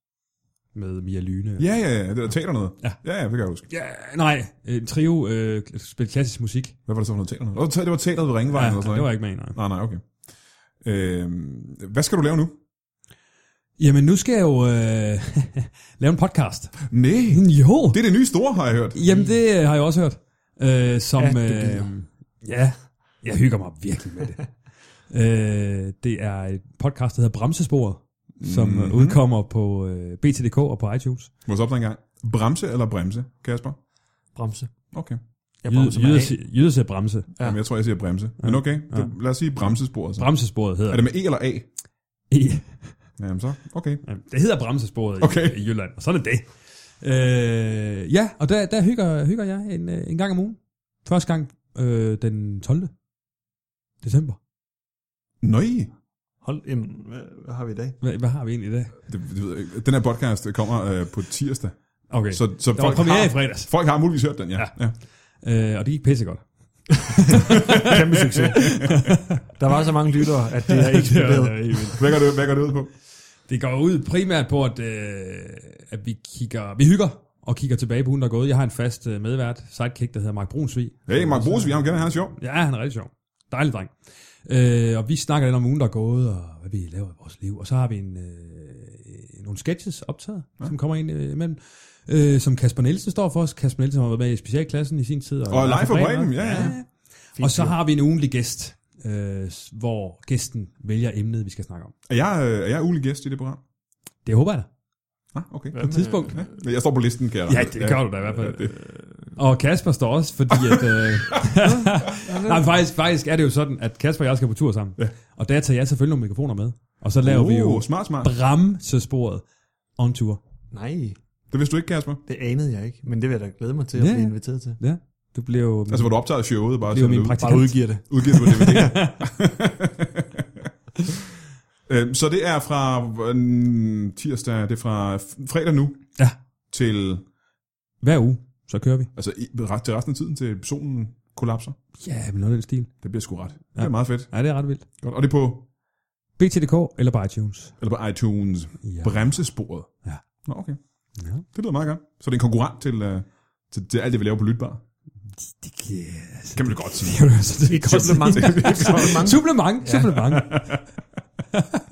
Speaker 2: med Mia Lyne.
Speaker 1: Ja, ja, ja. Det var teater noget.
Speaker 2: Ja.
Speaker 1: Ja, ja, det kan jeg huske.
Speaker 2: Ja, nej, en trio øh, spillede klassisk musik.
Speaker 1: Hvad var det så for noget teater noget? Åh, Det var teateret ved Ringvejen
Speaker 2: Ja,
Speaker 1: eller sådan
Speaker 2: det var
Speaker 1: noget.
Speaker 2: jeg ikke med i,
Speaker 1: Nej,
Speaker 2: nej.
Speaker 1: nej, okay. Øhm, hvad skal du lave nu?
Speaker 2: Jamen, nu skal jeg jo øh, lave en podcast.
Speaker 1: Nej,
Speaker 2: Jo!
Speaker 1: det er det nye store, har jeg hørt.
Speaker 2: Jamen, det øh, har jeg også hørt. Øh, som,
Speaker 3: Ja, du
Speaker 2: ja, øh,
Speaker 3: gider.
Speaker 2: ja, jeg hygger mig virkelig med det. øh, det er et podcast, der hedder Bremsesporet, som mm-hmm. udkommer på øh, BTDK og på iTunes.
Speaker 1: Må jeg så op en gang? Bremse eller bremse, Kasper?
Speaker 3: Bremse.
Speaker 1: Okay.
Speaker 3: Jeg bremser
Speaker 2: Jyde-
Speaker 3: mig af.
Speaker 2: Jyde- Jyde siger bremse.
Speaker 1: Ja.
Speaker 3: Ja.
Speaker 1: Jamen, jeg tror, jeg siger bremse. Men okay, det, lad os sige bremsesporet så.
Speaker 2: Bremsesporet hedder
Speaker 1: Er det med E eller A?
Speaker 2: det.
Speaker 1: Jamen så, okay.
Speaker 2: Jamen, Det hedder bremsesporet okay.
Speaker 1: Okay.
Speaker 2: i, i Jylland, og sådan er det. Øh, ja, og der, der hygger, hygger jeg en, øh, en gang om ugen. Første gang øh, den 12. december.
Speaker 1: Nøj,
Speaker 3: Hold, jamen, hvad, hvad har vi i dag?
Speaker 2: Hvad, hvad har vi egentlig i dag?
Speaker 1: det, det ved jeg ikke. Den her podcast kommer øh, på tirsdag.
Speaker 2: Okay,
Speaker 1: Så,
Speaker 2: så,
Speaker 1: så
Speaker 2: der var
Speaker 1: folk,
Speaker 2: premiere
Speaker 1: har,
Speaker 2: i fredags,
Speaker 1: folk har muligvis hørt den, ja.
Speaker 2: Ja.
Speaker 1: ja. ja.
Speaker 2: øh, og det gik pissegodt.
Speaker 3: Kæmpe succes. Der var så mange lyttere, at det er eksploderet.
Speaker 2: det, er helt vildt.
Speaker 1: Hvad, går det, hvad går det ud på?
Speaker 2: det går ud primært på, at, øh, at vi kigger, vi hygger og kigger tilbage på ugen, der er gået. Jeg har en fast øh, medvært, sidekick, der hedder Mark Brunsvig.
Speaker 1: Hey, Mark Brosvig, ham kan han er sjov.
Speaker 2: Ja, han er rigtig sjov. Dejlig dreng. Øh, og vi snakker lidt om ugen, der er gået, og hvad vi laver i vores liv. Og så har vi en, øh, nogle sketches optaget, ja. som kommer ind øh, imellem. Øh, som Kasper Nielsen står for os. Kasper Nielsen har været med i specialklassen i sin tid.
Speaker 1: Og Leif fra
Speaker 2: Bremen.
Speaker 1: Bremen, ja, ja.
Speaker 2: Og så har vi en ugenlig gæst, øh, s- hvor gæsten vælger emnet, vi skal snakke om.
Speaker 1: Er jeg, øh, er jeg ulig gæst i det program?
Speaker 2: Det håber jeg da.
Speaker 1: Ah, okay.
Speaker 2: På et tidspunkt.
Speaker 1: Ja, Jeg står på listen, kan jeg
Speaker 2: Ja, det gør du da i hvert fald.
Speaker 1: det.
Speaker 2: Og Kasper står også, fordi at... Øh, nej, men faktisk, faktisk er det jo sådan, at Kasper og jeg skal på tur sammen. Ja. Og der tager jeg selvfølgelig nogle mikrofoner med. Og så laver vi jo
Speaker 1: Uh, smart, smart.
Speaker 2: bremsesporet on tour.
Speaker 3: Nej,
Speaker 1: Det vidste du ikke, Kasper.
Speaker 3: det anede jeg ikke. Men det vil jeg da glæde mig til at
Speaker 2: Ja,
Speaker 3: blive
Speaker 2: ja.
Speaker 3: inviteret til.
Speaker 2: Ja, du bliver jo...
Speaker 1: Altså, hvor du optager showet bare.
Speaker 2: Mm. det er jo
Speaker 1: sender
Speaker 2: min
Speaker 1: ud.
Speaker 2: praktikant.
Speaker 3: udgiver det.
Speaker 1: Udgivet på DVD. Øhm, Så det er fra øh, tirsdag, det er fra f- fredag nu
Speaker 2: Ja,
Speaker 1: til,
Speaker 2: hver uge, så kører vi.
Speaker 1: altså i- ret- til resten af tiden, til solen kollapser.
Speaker 2: Ja, men noget af den stil.
Speaker 1: Det bliver sgu ret. Det er meget fedt.
Speaker 2: Ja, det er ret vildt.
Speaker 1: Godt. Og det er på,
Speaker 2: BTDK eller på iTunes.
Speaker 1: eller på iTunes.
Speaker 2: Ja.
Speaker 1: Bremsesporet.
Speaker 2: Ja.
Speaker 1: Nå, okay.
Speaker 2: Ja.
Speaker 1: Det lyder meget godt. Så det er en konkurrent til, uh, til, til alt det, vi laver på Lytbar.
Speaker 2: Det kan, altså,
Speaker 1: Kan man godt sige.
Speaker 2: det, altså, det, det, det,
Speaker 3: Supplement. Supplement.
Speaker 2: Supplement, supplement.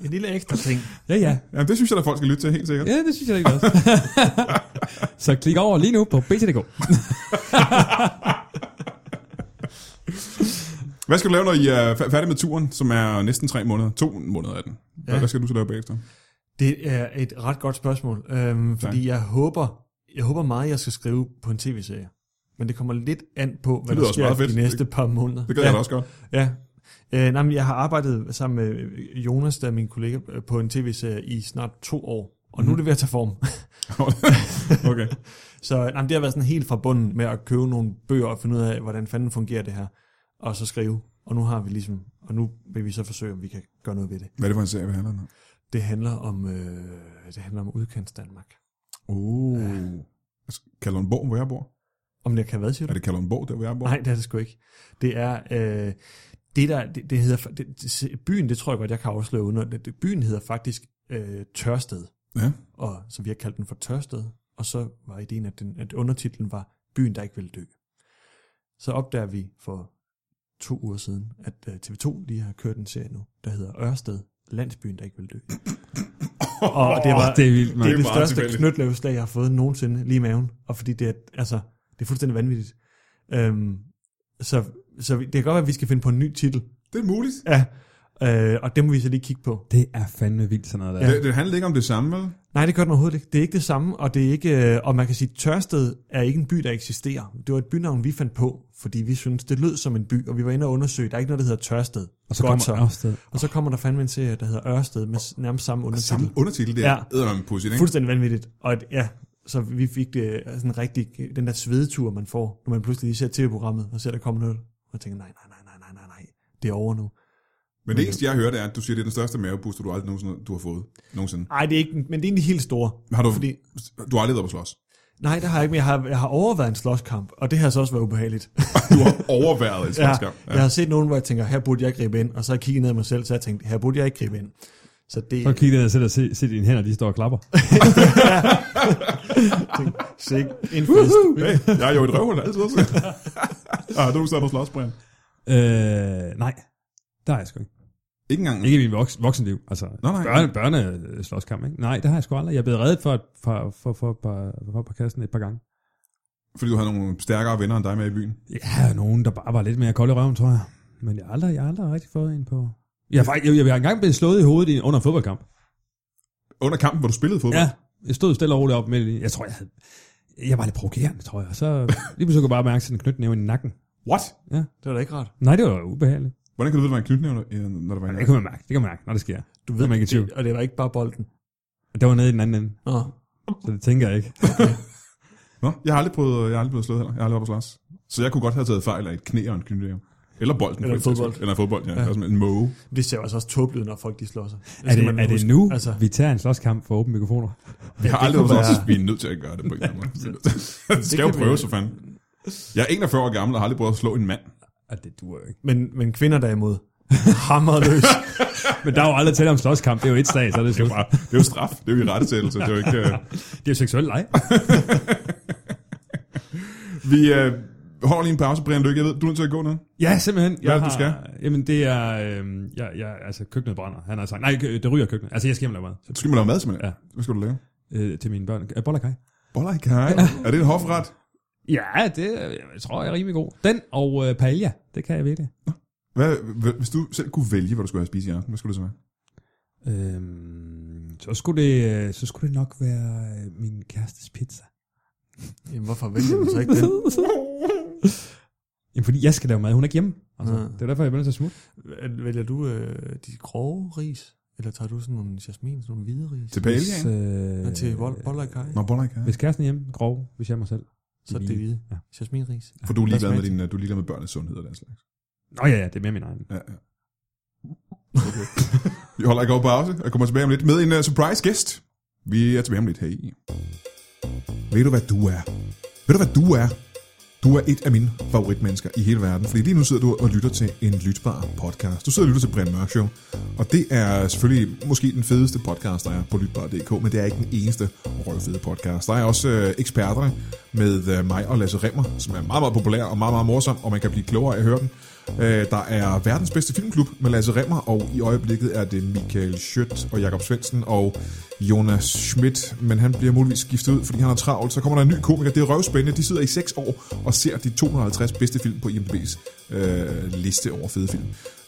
Speaker 3: En lille ekstra ting.
Speaker 2: Ja, ja.
Speaker 1: Jamen, det synes jeg, at folk skal lytte til, helt sikkert.
Speaker 2: Ja, det synes jeg ikke også. så klik over lige nu på BTDK.
Speaker 1: Hvad skal du lave, når I er fæ- færdige med turen, som er næsten tre måneder? To måneder af den. Hvad,
Speaker 3: Ja.
Speaker 1: hvad skal du så lave bagefter?
Speaker 3: Det er et ret godt spørgsmål, øhm, fordi jeg håber, jeg håber meget, at jeg skal skrive på en tv-serie. Men det kommer lidt an på, hvad
Speaker 1: lyder
Speaker 3: der
Speaker 1: også meget
Speaker 3: sker
Speaker 1: fedt.
Speaker 3: de næste par måneder.
Speaker 1: Det gør ja. jeg da også godt.
Speaker 3: Ja. Øh, nej, men jeg har arbejdet sammen med Jonas, der er min kollega, øh, på en tv-serie i snart to år. Og mm.
Speaker 1: Mhm.
Speaker 3: nu er det ved at tage form.
Speaker 1: okay.
Speaker 3: Så nej, men det har været sådan helt fra bunden med at købe nogle bøger og finde ud af, hvordan fanden fungerer det her. Og så skrive. Og nu har vi ligesom, og nu vil vi så forsøge, om vi kan gøre noget ved det.
Speaker 1: Hvad er det for en serie, vi handler om?
Speaker 3: Det handler om, øh, det handler om udkants Danmark.
Speaker 1: Oh. Altså, Kalundborg, hvor jeg bor.
Speaker 3: Om det kan hvad, siger du?
Speaker 1: Er det Kalundborg, der hvor jeg bor?
Speaker 3: Nej, det er det sgu ikke. Det er, øh, det der, det, det hedder, fa- det, det, se- byen, det tror jeg godt, jeg kan afsløre under, det, det, byen hedder faktisk øh, Tørsted,
Speaker 1: Ja.
Speaker 3: og så vi har kaldt den for Tørsted, og så var ideen, at, den, at undertitlen var Byen, der ikke vil dø. Så opdager vi for to uger siden, at øh, TV2 lige har kørt en serie nu, der hedder Ørsted, landsbyen, der ikke vil dø. og det var,
Speaker 2: Åh, det er vildt,
Speaker 3: det
Speaker 2: mand.
Speaker 3: er
Speaker 1: Det
Speaker 3: det
Speaker 1: er meget
Speaker 3: største
Speaker 1: tilfældigt.
Speaker 3: knytløvslag, jeg har fået nogensinde lige i maven. Og fordi det er, altså, det er fuldstændig vanvittigt. Øhm, så, så vi- det kan godt være, at vi skal finde på en ny titel.
Speaker 1: Det er muligt.
Speaker 3: Ja. Øh, og det må vi så lige kigge på.
Speaker 2: Det er fandme vildt sådan noget der.
Speaker 1: Det, det handler ikke om det samme, vel?
Speaker 3: Nej, det gør den overhovedet ikke. Det er ikke det samme, og, det er ikke, øh, og man kan sige, at Tørsted er ikke en by, der eksisterer. Det var et bynavn, vi fandt på, fordi vi synes det lød som en by, og vi var inde og undersøge, der er ikke noget, der hedder Tørsted.
Speaker 2: Og så kommer
Speaker 3: så.
Speaker 2: Ørsted.
Speaker 3: Og så kommer der fandme en serie, der hedder Ørsted, med s- nærmest samme undertitel.
Speaker 1: Samme undertitel, det er
Speaker 3: Ja.
Speaker 1: ja. en pussy, ikke?
Speaker 3: Fuldstændig vanvittigt. Og at, ja, så vi fik det øh, sådan rigtig, den der svedetur, man får, når man pludselig lige ser tv-programmet, og ser, der kommer noget, og tænker, nej, nej, nej, nej, nej, nej, nej, det er over nu.
Speaker 1: Men det eneste, jeg hører, det er, at du siger, det er den største mavepuster, du aldrig nogensinde du har fået. Nogensinde.
Speaker 3: Nej, det er ikke, men det er egentlig helt store.
Speaker 1: Har du,
Speaker 3: Fordi-
Speaker 1: du har aldrig været på slås.
Speaker 3: Nej, det har jeg ikke, men jeg har, jeg har overvejet en slåskamp, og det har så også været ubehageligt.
Speaker 1: Du har overværet et
Speaker 3: Ja,
Speaker 1: slåskamp.
Speaker 3: jeg har set nogen, hvor jeg tænker, her burde jeg gribe ind, og så har jeg kigget ned i mig selv, så har jeg tænkt, her burde jeg ikke gribe ind. Så det
Speaker 2: Så kigger jeg selv og se, se dine hænder, de står og klapper.
Speaker 3: er ikke en fest.
Speaker 1: Hey, jeg er jo et røvhul altid også. ah, du sad på slås, Brian.
Speaker 2: øh, nej, der er jeg sgu ikke.
Speaker 1: Ikke engang.
Speaker 2: Ikke i min voks, voksenliv. Altså,
Speaker 1: Nå, nej.
Speaker 2: børne, børneslåskamp, ikke? Nej, det har jeg sgu aldrig. Jeg er blevet reddet for, et, for, for, for, for, for, for kassen et par gange.
Speaker 1: Fordi du havde nogle stærkere venner end dig med i byen.
Speaker 2: Ja, nogen, der bare var lidt mere kold i røven, tror jeg. Men jeg har aldrig, jeg har aldrig rigtig fået en på... Jeg har, faktisk- jeg, jeg, jeg har engang blevet slået i hovedet i- under en fodboldkamp.
Speaker 1: Under kampen, hvor du spillede fodbold.
Speaker 2: Ja, jeg stod stille og roligt op med Jeg tror, jeg havde... Jeg var lidt provokerende, tror jeg. Og Så lige pludselig kunne jeg bare mærke sådan en knytnæve i nakken.
Speaker 1: What?
Speaker 3: Det var da ikke rart.
Speaker 2: Nej, det var ubehageligt.
Speaker 1: Hvordan kan du vide, at der var en knytnæve, når der var en
Speaker 2: Det kan man mærke, det kan man mærke, når det sker.
Speaker 3: Du
Speaker 2: Det er man ikke i tvivl.
Speaker 3: det, og det var ikke bare bolden.
Speaker 2: Det var nede i den anden ende,
Speaker 3: Nå.
Speaker 2: så det tænker jeg ikke.
Speaker 1: Nå, jeg har aldrig prøvet, jeg har aldrig blevet slået heller. Jeg har aldrig været på slås. Så jeg kunne godt have taget fejl af et knæ og en knytnæve. Eller bolden. for
Speaker 3: Eller
Speaker 1: den sags
Speaker 3: fodbold.
Speaker 1: skyld. Eller fodbold, ja. ja. Eller sådan en måge.
Speaker 3: Det ser jo altså også tåbeligt, ud, når folk de slår sig.
Speaker 2: Er det, er det nu,
Speaker 3: Altså,
Speaker 2: altså. vi tager en slåskamp for åbne mikrofoner?
Speaker 1: Vi har
Speaker 3: det
Speaker 1: aldrig været
Speaker 3: kunne
Speaker 1: på slås.
Speaker 3: være-
Speaker 1: Vi er nødt til at gøre det på en eller anden måde. Det skal
Speaker 3: kan
Speaker 1: jo
Speaker 3: vi-
Speaker 1: prøve, så fanden. Jeg er 41 år gammel og har aldrig prøvet at slå en mand.
Speaker 2: Og det duer jo ikke.
Speaker 3: men, men kvinder derimod, hammerløs.
Speaker 2: Men der er jo aldrig tale om slåskamp. Det er jo et slag, så er det slut.
Speaker 1: Bare, det er jo straf. Det er jo i rettesættelse. Det er jo ikke... Øh...
Speaker 2: Det er jo seksuel leg.
Speaker 1: Vi øh, holder lige en pause, Brian Lykke. Jeg ved, du er nødt til at gå nu.
Speaker 2: Ja, simpelthen. Hvad
Speaker 1: er det, du
Speaker 2: Jamen, det er... Øh, jeg, jeg, altså, køkkenet brænder. Han har sagt, nej, kø- det ryger køkkenet. Altså, jeg skal hjem og lave mad
Speaker 1: Du skal man lave mad, simpelthen.
Speaker 2: Ja.
Speaker 1: Hvad skal du lave?
Speaker 2: øh, til mine børn. Øh, boller og kaj.
Speaker 1: Boller i kaj. Er det en hofret?
Speaker 2: Ja, det øh, jeg tror jeg er rimelig god. Den og øh, paella, det kan jeg virkelig.
Speaker 1: Hvad, hva- hvis du selv kunne vælge, hvad du skulle have at spise i aften, hvad skulle det så være?
Speaker 2: Øhm, så, skulle det, øh, så skulle det nok være øh, min kærestes pizza.
Speaker 3: Jamen, hvorfor vælger man så ikke den?
Speaker 2: Jamen, fordi jeg skal lave mad, hun er ikke hjemme. Altså,
Speaker 3: Ja.
Speaker 2: Det er derfor, jeg begynder til at smutte.
Speaker 3: Vælger du øh, de grove ris, eller tager du sådan nogle jasmin, sådan nogle hvide ris?
Speaker 1: Til paella, ikke?
Speaker 2: øh,
Speaker 3: Og til vol- boller i kaj?
Speaker 1: Nå, boller i kaj.
Speaker 2: Hvis kæresten er hjemme, grov, hvis jeg er mig selv.
Speaker 3: Så er det det hvide.
Speaker 2: Ja.
Speaker 3: Jasminris.
Speaker 1: For du er ligeglad
Speaker 3: Hvad
Speaker 1: med,
Speaker 3: smager
Speaker 1: din, øh, du er ligeglad med børnenes sundhed og den slags.
Speaker 2: Nå ja, ja, det er mere min egen.
Speaker 1: Ja, ja. Okay. Vi holder ikke over pause og kommer tilbage om lidt med en uh, surprise gæst. Vi er tilbage om lidt her i. Ved du, hvad du er? Ved du, hvad du er? Du er et af mine favoritmennesker i hele verden, fordi lige nu sidder du og lytter til en lytbar podcast. Du sidder og lytter til Brian Mørk Show, og det er selvfølgelig måske den fedeste podcast, der er på lytbar.dk, men det er ikke den eneste røvfede podcast. Der er også øh, eksperterne med øh, mig og Lasse Remmer, som er meget, meget populær og meget, meget morsom, og man kan blive klogere af at høre dem. Øh, der er verdens bedste filmklub med Lasse Remmer, og i øjeblikket er det Michael Schødt og Jakob Svendsen og Jonas Schmidt, men han bliver muligvis skiftet ud, fordi han har travlt. Så kommer der en ny komiker, det er røvspændende. De sidder i 6 år og ser de 250 bedste film på IMDb's øh, liste over fede film.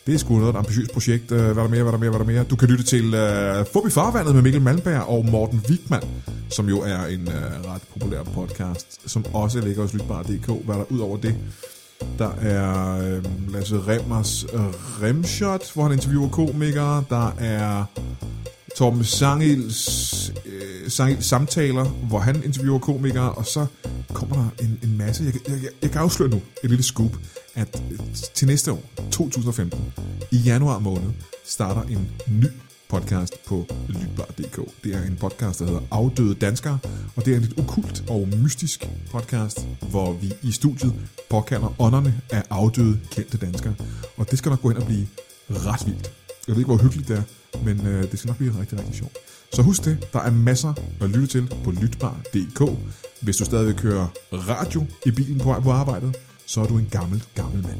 Speaker 1: Det er sgu noget af et ambitiøst projekt. Øh, Hvad er der mere, hvad er der mere, hvad er der mere? Du kan lytte til øh, Fup i farvandet med Mikkel Malmberg og Morten Wigman, som jo er en øh, ret populær podcast, som også ligger hos Lytbar.dk. Hvad er der ud over det? Der er øh, Lasse Remmers øh, Remshot, hvor han interviewer komikere. Der er Torben Sangils øh, Sangils samtaler, hvor han interviewer komikere, og så kommer der en, en masse. Jeg, kan- jeg, jeg, jeg kan afsløre nu et lille scoop, at øh, til næste år, 2015, i januar måned, starter en ny podcast på lytbar.dk. Det er en podcast, der hedder Afdøde Danskere, og det er en lidt okult og mystisk podcast, hvor vi i studiet påkalder ånderne af afdøde kendte danskere. Og det skal nok gå hen og blive ret vildt. Jeg ved ikke, hvor hyggeligt det er, men øh, det skal nok blive rigtig, rigtig sjovt. Så husk det, der er masser at lytte til på lytbar.dk. Hvis du stadigvæk kører radio i bilen på vej på arbejdet, så er du en gammel, gammel mand.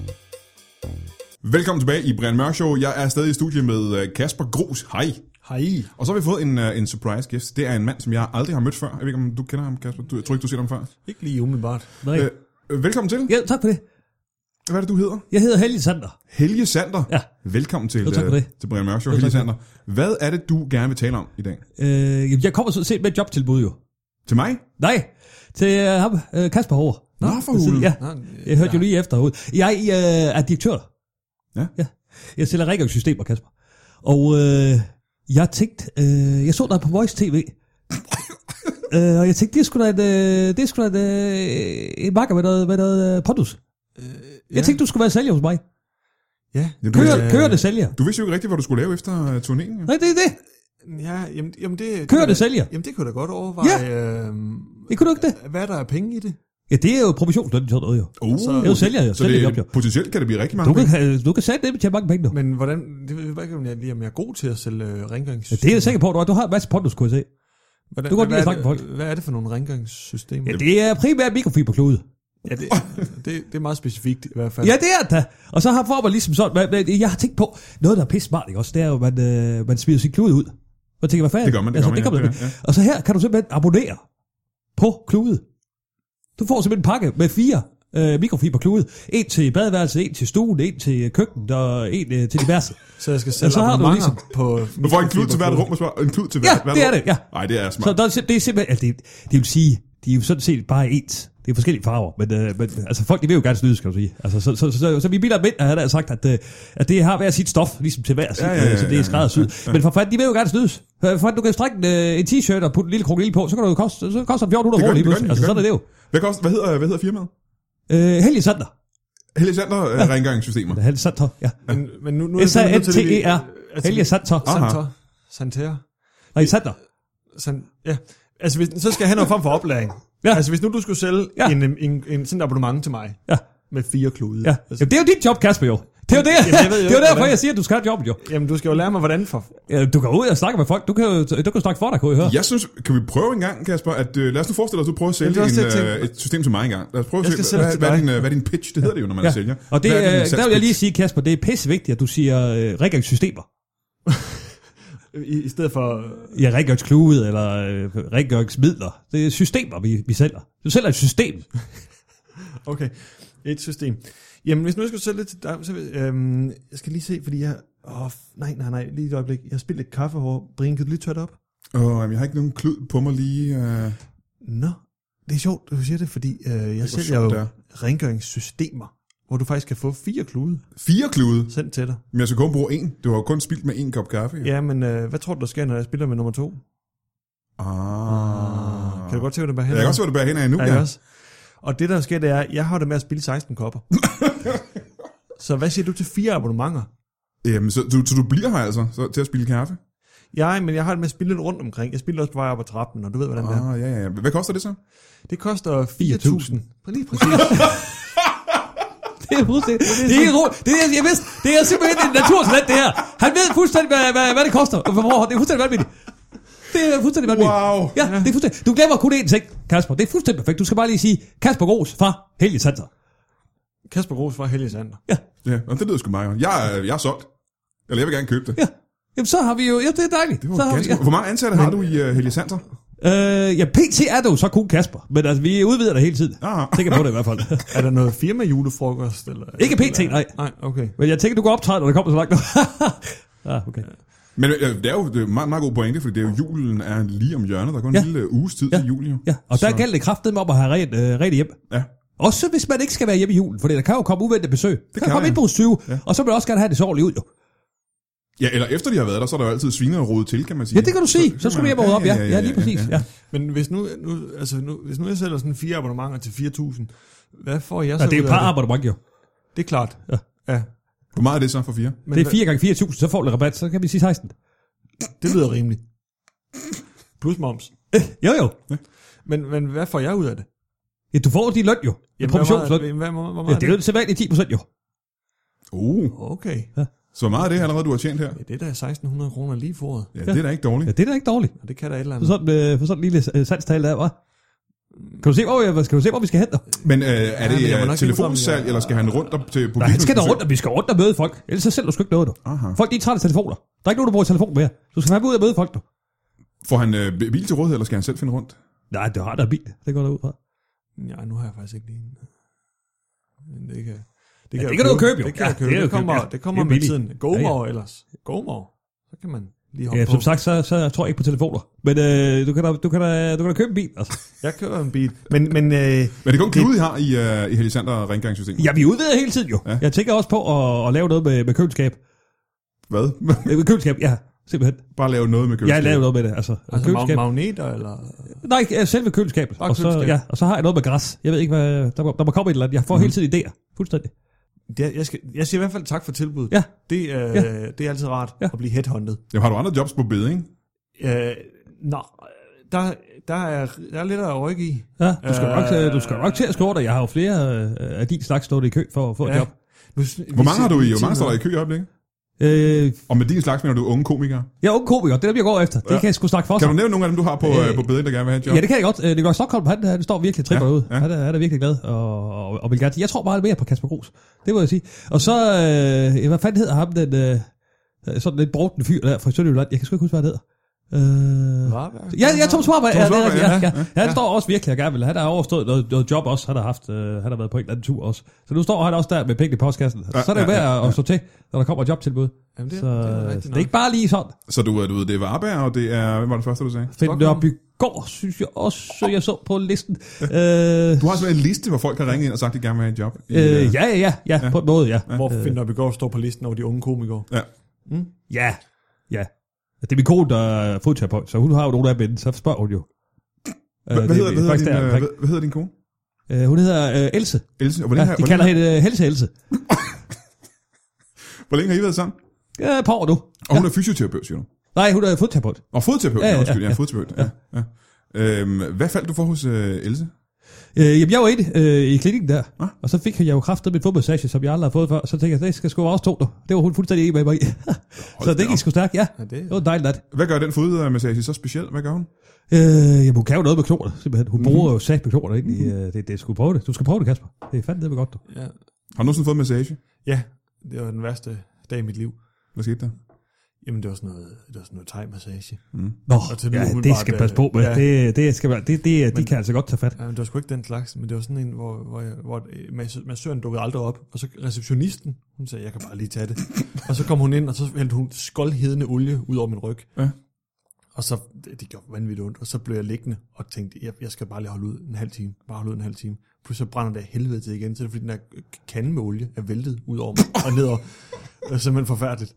Speaker 1: Velkommen tilbage i Brian Mørk Show. Jeg er stadig i studiet med øh, Kasper Grus. Hej.
Speaker 3: Hej.
Speaker 1: Og så har vi fået en, øh, en surprise gæst. Det er en mand, som jeg aldrig har mødt før. Jeg ved ikke, om du kender ham, Kasper. Du, jeg tror ikke, du har set ham før.
Speaker 3: Ikke lige umiddelbart.
Speaker 2: Nej.
Speaker 1: Øh, øh, velkommen til.
Speaker 2: Ja, tak for det.
Speaker 1: Hvad er det, du hedder?
Speaker 2: Jeg hedder Helge Sander.
Speaker 1: Helge Sander.
Speaker 2: Ja.
Speaker 1: Velkommen til,
Speaker 2: Jo, tak for
Speaker 1: øh,
Speaker 2: det.
Speaker 1: til Brian Mørk Show,
Speaker 2: Jo,
Speaker 1: Helge
Speaker 2: tak.
Speaker 1: Sander. Hvad er det, du gerne vil tale om i dag?
Speaker 2: Øh, jamen, jeg kommer sådan set med et jobtilbud jo.
Speaker 1: Til mig?
Speaker 2: Nej, til øh, ham, øh, Kasper Hård.
Speaker 1: Nå, for hulen.
Speaker 2: Ja,
Speaker 3: Nå, øh,
Speaker 2: jeg hørte jo lige efter ud. Jeg øh, er direktør.
Speaker 1: Ja.
Speaker 2: ja. Jeg sælger rengøringssystemer, Kasper. Og øh, jeg tænkte, øh, jeg så dig på Voice TV. øh, og jeg tænkte, det er sgu da en, øh, det er sgu da en, øh, en makker med noget, med noget øh, pondus. Jeg
Speaker 3: ja.
Speaker 2: tænkte, du skulle være sælger hos mig.
Speaker 3: Ja.
Speaker 1: Jamen, du,
Speaker 2: Kører,
Speaker 1: vidste,
Speaker 2: kører det sælger.
Speaker 1: du vidste jo ikke rigtigt, hvad du skulle lave efter øh, turnéen. jo.
Speaker 2: Nej, det er det.
Speaker 3: Ja, jamen, jamen det...
Speaker 2: Kører det
Speaker 3: da-
Speaker 2: sælger.
Speaker 3: Jamen det kunne jeg da godt overveje.
Speaker 2: Ja.
Speaker 3: øhm,
Speaker 2: Det kunne du ikke det?
Speaker 3: Hvad der er penge i det?
Speaker 2: Ja, det er jo provisionsløn, sådan noget jo.
Speaker 1: Uh,
Speaker 3: Så-
Speaker 2: Jeg er jo sælger, jo.
Speaker 1: så
Speaker 2: Sælger job, jo.
Speaker 1: det, potentielt kan det blive rigtig mange
Speaker 2: Du kan,
Speaker 1: penge.
Speaker 2: du kan sætte det, tjene mange penge nu.
Speaker 3: Men hvordan... Det ved jeg bare ikke, om jeg lige om jeg er god til at sælge øh,
Speaker 2: Ja,
Speaker 3: rengøringssystemer.
Speaker 2: det er jeg sikker på, du har. Du har en masse pondus, kunne jeg se.
Speaker 3: Hvordan,
Speaker 2: Du kan godt
Speaker 3: hvad
Speaker 2: lide
Speaker 3: er
Speaker 2: at
Speaker 3: det-
Speaker 2: snakke med
Speaker 3: Hvad er det for nogle rengøringssystemer?
Speaker 2: Ja, det er primært mikrofiberklude.
Speaker 3: ja det, det, det er meget specifikt i hvert fald.
Speaker 2: Ja, det er det da. Og så har får man ligesom sådan, men- men jeg har tænkt på, noget der er pisse smart, ikke også, det er jo, at man, øh, man smider sin klude ud. Og tænker, hvad fanden? Altså,
Speaker 1: Det gør man, det gør man, ja,
Speaker 2: man
Speaker 1: det er,
Speaker 2: Og så her kan du simpelthen abonnere på klude. Du får simpelthen en pakke med fire øh, mikrofiberklude. En til badeværelset, en til stuen, en til køkkenet og en øh, til diverse.
Speaker 3: Så jeg skal sælge
Speaker 2: så har du
Speaker 3: abonnementer
Speaker 2: ligesom-
Speaker 3: på...
Speaker 1: Du får en klud til hvert rum, og så- en klud til hvert, hvert
Speaker 2: det er
Speaker 1: rum.
Speaker 2: det, ja.
Speaker 1: Nej, det er smart.
Speaker 2: Så der, er sim- det er simpelthen, altså det, det vil sige, de er jo sådan set bare ens. Det er forskellige farver, men, øh, men altså folk de vil jo gerne snyde, skal du sige. Altså, så, så, så, så, så vi biler mænd, har der sagt, at, øh, at det har hver sit stof, ligesom til hver sit, ja, ja, ja, så det
Speaker 1: ja,
Speaker 2: er skræddersyet. Ja, ja. Men for fanden, de vil jo gerne snydes. For fanden, du kan strække en, øh, en t-shirt og putte en lille krokodil på, så kan du jo koste, så koster den 1400
Speaker 1: Det gør
Speaker 2: kroner
Speaker 1: den,
Speaker 2: lige
Speaker 1: det gør den,
Speaker 2: pludselig. Altså sådan er
Speaker 1: det
Speaker 2: det
Speaker 1: gør
Speaker 2: jo.
Speaker 1: Hvad, koster, hvad, hedder, hvad hedder firmaet?
Speaker 2: Øh, Helge Sander.
Speaker 1: Helge Sander øh, Rengøringssystemer.
Speaker 2: Helge Sander, ja.
Speaker 3: Men, men nu, nu
Speaker 2: S-A-N-T-E-R. E
Speaker 3: Altså,
Speaker 2: Helge Sander.
Speaker 3: Santer. Santer.
Speaker 2: Nej, Sander.
Speaker 3: San, ja. Altså, hvis, så skal han have noget form for oplæring.
Speaker 2: Ja.
Speaker 3: Ja. Altså, hvis nu du skulle sælge
Speaker 2: Ja.
Speaker 3: ja. en, en, en, en, sådan et abonnement til mig,
Speaker 2: Ja,
Speaker 3: med fire klude.
Speaker 2: ja.
Speaker 3: Altså,
Speaker 2: Jamen, det er jo dit job, Kasper, jo. Det er jo, det,
Speaker 3: Jamen, jeg ved jo
Speaker 2: det er jo
Speaker 3: ikke,
Speaker 2: derfor,
Speaker 3: hvordan-
Speaker 2: jeg siger, at du skal have jobbet, jo.
Speaker 3: jamen, du skal jo lære mig, hvordan for...
Speaker 2: Ja, du kan ud og snakke med folk. Du kan jo du kan jo snakke for dig, kunne jeg høre.
Speaker 1: Jeg synes, kan vi prøve en gang, Kasper, at øh, lad os nu forestille os, at du prøver at sælge
Speaker 3: Jamen, det er også det,
Speaker 1: en,
Speaker 3: jeg
Speaker 1: øh,
Speaker 3: tænker.
Speaker 1: et system til mig engang. Lad os prøve at
Speaker 3: Jeg
Speaker 1: se,
Speaker 3: skal sælge
Speaker 1: hvad,
Speaker 3: til
Speaker 1: hvad, er
Speaker 3: dig.
Speaker 1: din, øh, hvad er din pitch? Det hedder det jo, når man ja. sælger.
Speaker 2: Og det,
Speaker 1: Hvad din
Speaker 2: øh, der vil jeg
Speaker 1: salgspitch?
Speaker 2: lige sige, Kasper, det er pissevigtigt, at du siger øh, rengøringssystemer.
Speaker 3: I, I stedet for...
Speaker 2: Ja, rengøringsklude eller øh, rengøringsmidler. Det er systemer, vi, vi sælger. Du sælger et system.
Speaker 3: Okay, et system. Jamen, hvis nu jeg skulle sælge det til dig, så... vil- Øhm, jeg skal lige se, fordi jeg... Åh, f- nej, nej, nej, lige et øjeblik. Jeg har spildt lidt kaffe over. Brian, kan du lige tørre det op?
Speaker 1: Åh, jamen, jeg har ikke nogen klud på mig lige. Øh,
Speaker 3: Nå, det er sjovt, du siger det, fordi øh, jeg
Speaker 1: hvor
Speaker 3: sælger
Speaker 1: sjovt det
Speaker 3: jo rengøringssystemer, hvor du faktisk kan få fire klude
Speaker 1: fire klude,
Speaker 3: sendt til dig.
Speaker 1: men jeg skal kun bruge en. Du har jo kun spildt med en kop kaffe. jo.
Speaker 3: Ja, men øh, hvad tror du, der sker, når jeg spiller med nummer to?
Speaker 1: Ah.
Speaker 3: Kan du godt se, hvor det bærer hen?
Speaker 1: Jeg kan også se, hvad det bærer hen af nu.
Speaker 3: Ja, ikke også? Og det, der sker, det er, at jeg har det med at spille 16 kopper. så hvad siger du til fire abonnementer?
Speaker 1: Jamen, så, så, så du bliver her altså så, til at spille kaffe?
Speaker 3: Jeg, men jeg har det med at spille lidt rundt omkring. Jeg spiller også på vej op ad trappen, og du ved, hvordan det er.
Speaker 1: Ah, ja, ja, ja. Hvad koster det så?
Speaker 3: Det koster 4.000. Lige præcis.
Speaker 2: Det er fuldstændig. Det er ikke ro- det er, jeg vidste, det er simpelthen en naturtalent, det her. Han ved fuldstændig, hvad, hvad, hvad det koster. Og hvor- Det er fuldstændig vanvittigt. Det er fuldstændig vanvittigt.
Speaker 1: Wow.
Speaker 2: Ja, det er fuldstændig. Du glemmer kun én ting, Kasper. Det er fuldstændig perfekt. Du skal bare lige sige, Kasper Gros fra Helge Sanser.
Speaker 3: Kasper Gros fra Helge Sander.
Speaker 1: Ja, nå, det lyder sgu meget godt. Jeg, er- jeg er solgt. Eller jeg vil gerne købe det.
Speaker 2: Ja. Jamen, så har vi jo... Ja, det er dejligt.
Speaker 1: Det var
Speaker 2: så har vi,
Speaker 1: ganske... Hvor mange ansatte har du i uh, Helge Santer?
Speaker 2: Øh, ja, PT er du så kun Kasper, men altså, vi udvider det hele tiden.
Speaker 1: Aha.
Speaker 2: Tænker på det i hvert fald.
Speaker 3: Er der noget firma julefrokost? Eller,
Speaker 2: Ikke PT, nej.
Speaker 3: Nej, okay.
Speaker 2: Men jeg tænker, du kan optræde, når det kommer så langt. ah, okay.
Speaker 1: Men øh, det er jo det er meget, meget god pointe, fordi det er jo, julen er lige om hjørnet. Der er kun en
Speaker 2: Ja.
Speaker 1: lille øh, uges tid
Speaker 2: Ja.
Speaker 1: til jul, jo.
Speaker 2: Ja, og der
Speaker 1: Så-
Speaker 2: gælder det kraftedt om at have rent, øh, rent hjem.
Speaker 1: Ja.
Speaker 2: Også hvis man ikke skal være hjemme i julen, for der kan jo komme uventet besøg. Det kan,
Speaker 1: kan
Speaker 2: kan komme
Speaker 1: der,
Speaker 2: ind på hos 20, ja. og så vil man også gerne have det sorgligt ud, jo.
Speaker 1: ja, eller efter de har været der, så er der jo altid sviner og rodet til, kan man sige.
Speaker 2: Ja, det kan du sige. Så skal
Speaker 1: man-
Speaker 2: vi hjem og rydde op, ja. Ja, lige præcis. Ja.
Speaker 3: Men hvis nu, nu, altså nu, hvis nu jeg sælger sådan fire abonnementer til 4.000, hvad får jeg så
Speaker 2: Ja, det er jo
Speaker 3: ud
Speaker 2: et
Speaker 3: af
Speaker 2: par abonnement, jo.
Speaker 3: Det er klart.
Speaker 2: Ja.
Speaker 3: ja.
Speaker 1: Hvor meget er det så for fire?
Speaker 3: Men
Speaker 2: Det er 4 gange 4.000, så får du lidt rabat, så kan vi sige 16.
Speaker 3: Det lyder rimeligt. Plus moms.
Speaker 2: Jo, jo.
Speaker 3: Men, men hvad får jeg ud af det?
Speaker 2: Ja, du får din løn, jo. Jamen,
Speaker 3: hvad,
Speaker 2: provisionsløn.
Speaker 3: meget, hvad, hvor, hvor
Speaker 2: Ja,
Speaker 3: meget
Speaker 2: det er jo det sædvanlige 10 procent, jo.
Speaker 1: Uh,
Speaker 3: Okay.
Speaker 1: så hvor meget er det allerede, du har tjent her?
Speaker 3: Ja, det er da 1600 kroner lige for året.
Speaker 1: Ja, det er da ikke dårligt.
Speaker 2: Ja, det er da ikke dårligt.
Speaker 3: Og det kan da et eller
Speaker 2: For
Speaker 3: andet.
Speaker 2: sådan, øh, for sådan en lille øh, salgstal der, hva'? Kan du se, hvor, jeg, kan du se, hvor vi skal hen? Der?
Speaker 1: Men øh, er det
Speaker 3: men jeg må
Speaker 1: ja,
Speaker 3: nok
Speaker 1: telefonsalg,
Speaker 3: indrømme, jeg-
Speaker 1: eller skal han rundt op til
Speaker 2: Nej, han skal Ah. der
Speaker 1: publikum?
Speaker 2: rundt, og vi skal rundt og møde folk. Ellers så selv du sgu ikke noget, du.
Speaker 1: Aha.
Speaker 2: Folk, de er trætte af telefoner. Der er ikke nogen, der bruger telefon mere. Du skal fandme ud og møde folk, du.
Speaker 1: Får han øh, bil til rådighed, eller skal han selv finde rundt?
Speaker 2: Nej, det har der bil. Det går der ud fra.
Speaker 3: Ja, nu har jeg faktisk ikke lige en. Men det kan, det
Speaker 2: det
Speaker 3: jeg
Speaker 2: kan du købe, jo.
Speaker 3: Det kan
Speaker 2: Ja,
Speaker 3: jeg købe.
Speaker 2: det er
Speaker 3: Det,
Speaker 2: jo
Speaker 3: det kommer,
Speaker 2: købt, ja.
Speaker 3: det kommer
Speaker 2: Det er
Speaker 3: med
Speaker 2: billigt.
Speaker 3: tiden. GoMore ja, ja. ellers. GoMore. Så kan man lige hoppe
Speaker 2: Ja,
Speaker 3: på.
Speaker 2: som sagt, så, så tror jeg ikke på telefoner. Men øh, du, kan da, du, kan da, du kan da købe en bil. Altså.
Speaker 3: Jeg køber en bil. Men, men
Speaker 1: Men
Speaker 3: øh,
Speaker 1: det er kun Knude, I har i, øh, i Helisander rengøringssystemet.
Speaker 2: Ja, vi udvider hele tiden jo.
Speaker 1: Ja.
Speaker 2: Ja. Jeg tænker også på at, at lave noget med, med køleskab.
Speaker 1: Hvad?
Speaker 2: Øh, Med køleskab, ja. Simpelthen.
Speaker 1: Bare lave noget med
Speaker 2: Jeg
Speaker 1: køleskab.
Speaker 2: laver noget med det, altså.
Speaker 3: altså mag-
Speaker 2: køleskab.
Speaker 3: magneter eller...
Speaker 2: Nej, ja, selve køleskabet.
Speaker 3: Bare
Speaker 2: Og så,
Speaker 3: køleskabet.
Speaker 2: ja, og så har jeg noget med græs. Jeg ved ikke, hvad, der, må- der må komme et eller andet. Jeg får mm. hele tiden idéer. Fuldstændig.
Speaker 3: Det, jeg, skal, jeg siger i hvert fald tak for tilbuddet.
Speaker 2: Ja.
Speaker 3: Det, øh, ja. det er altid rart ja.
Speaker 2: Ja.
Speaker 3: at blive headhunted.
Speaker 1: Jamen, har du andre jobs på bede, ikke?
Speaker 3: Øh, nå, der, der, er, der er lidt at rykke i.
Speaker 2: Ja, du skal, øh, nok, øh, du skal nok til at skrive dig. Jeg har jo flere øh, af din slags stået i kø for at få ja. et job.
Speaker 3: Nu,
Speaker 1: Hvor mange har du i? Hvor mange står der i kø i øjeblikket?
Speaker 2: Øh,
Speaker 1: Og med din slags mener du unge komikere.
Speaker 2: jeg er ung komiker. Det er dem, jeg går efter. Det
Speaker 1: Ja.
Speaker 2: kan jeg sgu snakke for
Speaker 1: Kan
Speaker 2: sig.
Speaker 1: du nævne nogle af dem, du har på, øh,
Speaker 2: Øh,
Speaker 1: på beden, der gerne vil have et job?
Speaker 2: Ja, det kan jeg godt. Øh, Nikolaj Stockholm, han, han står virkelig og tripper
Speaker 1: Ja,
Speaker 2: ja, ud.
Speaker 1: ja.
Speaker 2: Ja. Han er, han er virkelig glad og, og, og vil gerne. Jeg tror meget mere på Kasper Gros. Det må jeg sige. Og så, øh, ja, hvad fanden hedder ham, den øh, sådan lidt brugten fyr der fra Sønderjylland. Jeg kan sgu ikke huske, hvad han hedder. Øh, Ja, ja, Thomas Warberg. Ja,
Speaker 1: Thomas
Speaker 2: det er rigtigt, ja,
Speaker 1: Warberg, ja,
Speaker 2: ja, ja. Han står også virkelig og gerne vil. Han har overstået noget, noget job også. Han har, haft, øh, han har været på en eller anden tur også. Så nu står han også der med penge i postkassen.
Speaker 1: Ja,
Speaker 2: Ja, så er det jo
Speaker 1: ja,
Speaker 2: værd
Speaker 1: ja,
Speaker 2: at- at stå til, når der kommer et jobtilbud.
Speaker 3: Jamen, det,
Speaker 2: så,
Speaker 3: så, det er
Speaker 2: det, er så
Speaker 3: rigtigt
Speaker 2: det er ikke bare lige sådan.
Speaker 1: Så du, er- du ved, det er Varberg, og det er... Hvem var det første, du sagde?
Speaker 2: Finn
Speaker 3: Stockholm.
Speaker 2: Nørby Gård, synes jeg også, jeg så på listen.
Speaker 1: Du
Speaker 2: øh,
Speaker 1: har simpelthen en liste, hvor folk har ringet ind og sagt, at de gerne vil have et job. I,
Speaker 2: øh, ja, ja, ja, ja, på en måde, ja.
Speaker 3: Hvor Finn Nørby Gård står på listen over de unge komikere.
Speaker 1: ja.
Speaker 2: Ja, ja. Det er min kone, der er fodterapeut, så hun har jo nogle af dem, så spørger hun jo. Øh,
Speaker 1: Hvad, hvad,
Speaker 2: det er
Speaker 1: hedder, hvad, hedder
Speaker 2: faktisk
Speaker 1: din,
Speaker 2: der
Speaker 1: øh,
Speaker 2: omkring.
Speaker 1: hvad, hvad hedder din kone?
Speaker 2: Øh, hun hedder øh, Else.
Speaker 1: Else. Og hvor,
Speaker 2: Ja,
Speaker 1: længe, har,
Speaker 2: de
Speaker 1: hvor,
Speaker 2: kalder
Speaker 1: længe,
Speaker 2: hende øh, Helse Else.
Speaker 1: hvor længe har I været sammen?
Speaker 2: Ja, et par år nu.
Speaker 1: Og hun er fysioterapeut, siger du?
Speaker 2: Nej, hun er fodterapeut.
Speaker 1: Og fodterapeut,
Speaker 2: Ja,
Speaker 1: ja,
Speaker 2: ja,
Speaker 1: undskyld, ja,
Speaker 2: ja,
Speaker 1: ja, fodterapeut. Ja, ja. Øhm, hvad faldt du for hos øh, Else?
Speaker 2: Øh, jamen, jeg var inde øh, i klinikken der,
Speaker 1: Ah.
Speaker 2: ah. og så fik jeg jo kraftet mit fodmassage, som jeg aldrig har fået før. Så tænkte jeg, det skal sgu også to, du. Det var hun fuldstændig enig med mig i. så
Speaker 1: da
Speaker 2: det
Speaker 1: op.
Speaker 2: gik sgu stærkt, ja.
Speaker 3: Ja, det,
Speaker 2: Det var en dejlig nat.
Speaker 1: Hvad gør den fodmassage så speciel? Hvad gør hun?
Speaker 2: Øh, jamen, hun kan jo noget med knoglerne, simpelthen.
Speaker 3: Mhm.
Speaker 2: Hun bruger jo sat med knoglerne ind i, øh, det, det skulle prøve det. Du skal prøve det, Kasper. Det er fandme godt, du.
Speaker 3: ja.
Speaker 1: Har du nogensinde fået massage?
Speaker 3: ja, det var den værste dag i mit liv.
Speaker 1: Hvad skete der?
Speaker 3: Jamen, det var sådan noget, det var sådan noget thai-massage.
Speaker 2: Nå,
Speaker 3: Og til nu
Speaker 2: ja, det
Speaker 3: umiddelbart,
Speaker 2: skal
Speaker 3: øh,
Speaker 2: passe på med.
Speaker 3: ja.
Speaker 2: Ja. Det, det skal, være- det, det, de kan altså godt tage fat.
Speaker 3: Ja, men det var sgu ikke den slags, men det var sådan en, hvor, hvor, jeg, hvor øh, masse- massøren dukkede aldrig op. Og så receptionisten, hun sagde, jeg kan bare lige tage det. og så kom hun ind, og så hældte hun skoldhedende olie ud over min ryg.
Speaker 1: Ja.
Speaker 3: Og så, det, det gjorde vanvittigt ondt, og så blev jeg liggende og tænkte, jeg, jeg skal bare lige holde ud en halv time. Bare holde ud en halv time. Pludselig så brænder det af helvede til igen, så er det fordi den der kande med olie er væltet ud over mig og nedover. Det var simpelthen forfærdeligt.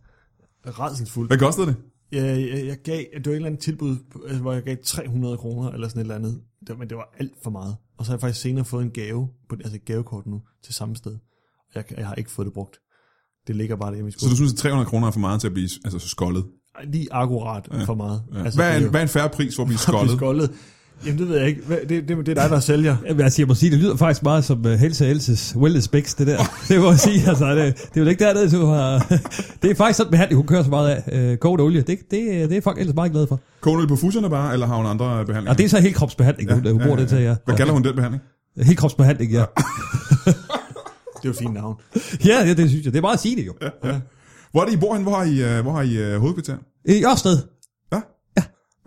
Speaker 3: Redselsfuldt.
Speaker 1: Hvad kostede det?
Speaker 3: Jeg, jeg, jeg gav, det var et eller andet tilbud, altså, hvor jeg gav 300 kroner eller sådan et eller andet, det, men det var alt for meget. Og så har jeg faktisk senere fået en gave, på, altså et gavekort nu, til samme sted. Og jeg, kan- jeg har ikke fået det brugt. Det ligger bare derhjemme i
Speaker 1: Så du
Speaker 3: skuffen.
Speaker 1: synes, at 300 kroner er for meget til at blive altså, så skoldet?
Speaker 3: Lige akkurat ja. for meget.
Speaker 1: Ja. Altså, hvad, er
Speaker 3: det
Speaker 1: en,
Speaker 3: jo-
Speaker 1: hvad er en færre pris for at blive
Speaker 3: at
Speaker 1: skoldet?
Speaker 3: blive skoldet? Jamen det ved jeg ikke. Hvad, det, det, det, er dig, der sælger.
Speaker 2: Jamen, altså, jeg må sige, det lyder faktisk meget som uh, Helse Elses Wellness Bix, det der. Det må jeg sige, altså, det, det er jo ikke dernede, du har... det er faktisk sådan behandling, hun kører så meget af. Uh, kogende olie, det, det, det er folk ellers meget glade for.
Speaker 1: Koner det på fuserne bare, eller har hun andre øh, behandlinger?
Speaker 2: Og det er så helt kropsbehandling, hun, hun bruger det til, ja.
Speaker 1: Hvad kalder hun den behandling?
Speaker 2: Helt kropsbehandling, ja.
Speaker 3: Det er jo et fint navn.
Speaker 2: ja, det, det synes jeg. Det er meget sigende, jo.
Speaker 1: Hvor er det, I bor hen? Hvor har I, øh, hvor har I øh, hovedkvarter?
Speaker 2: I Ørsted.
Speaker 1: Ja?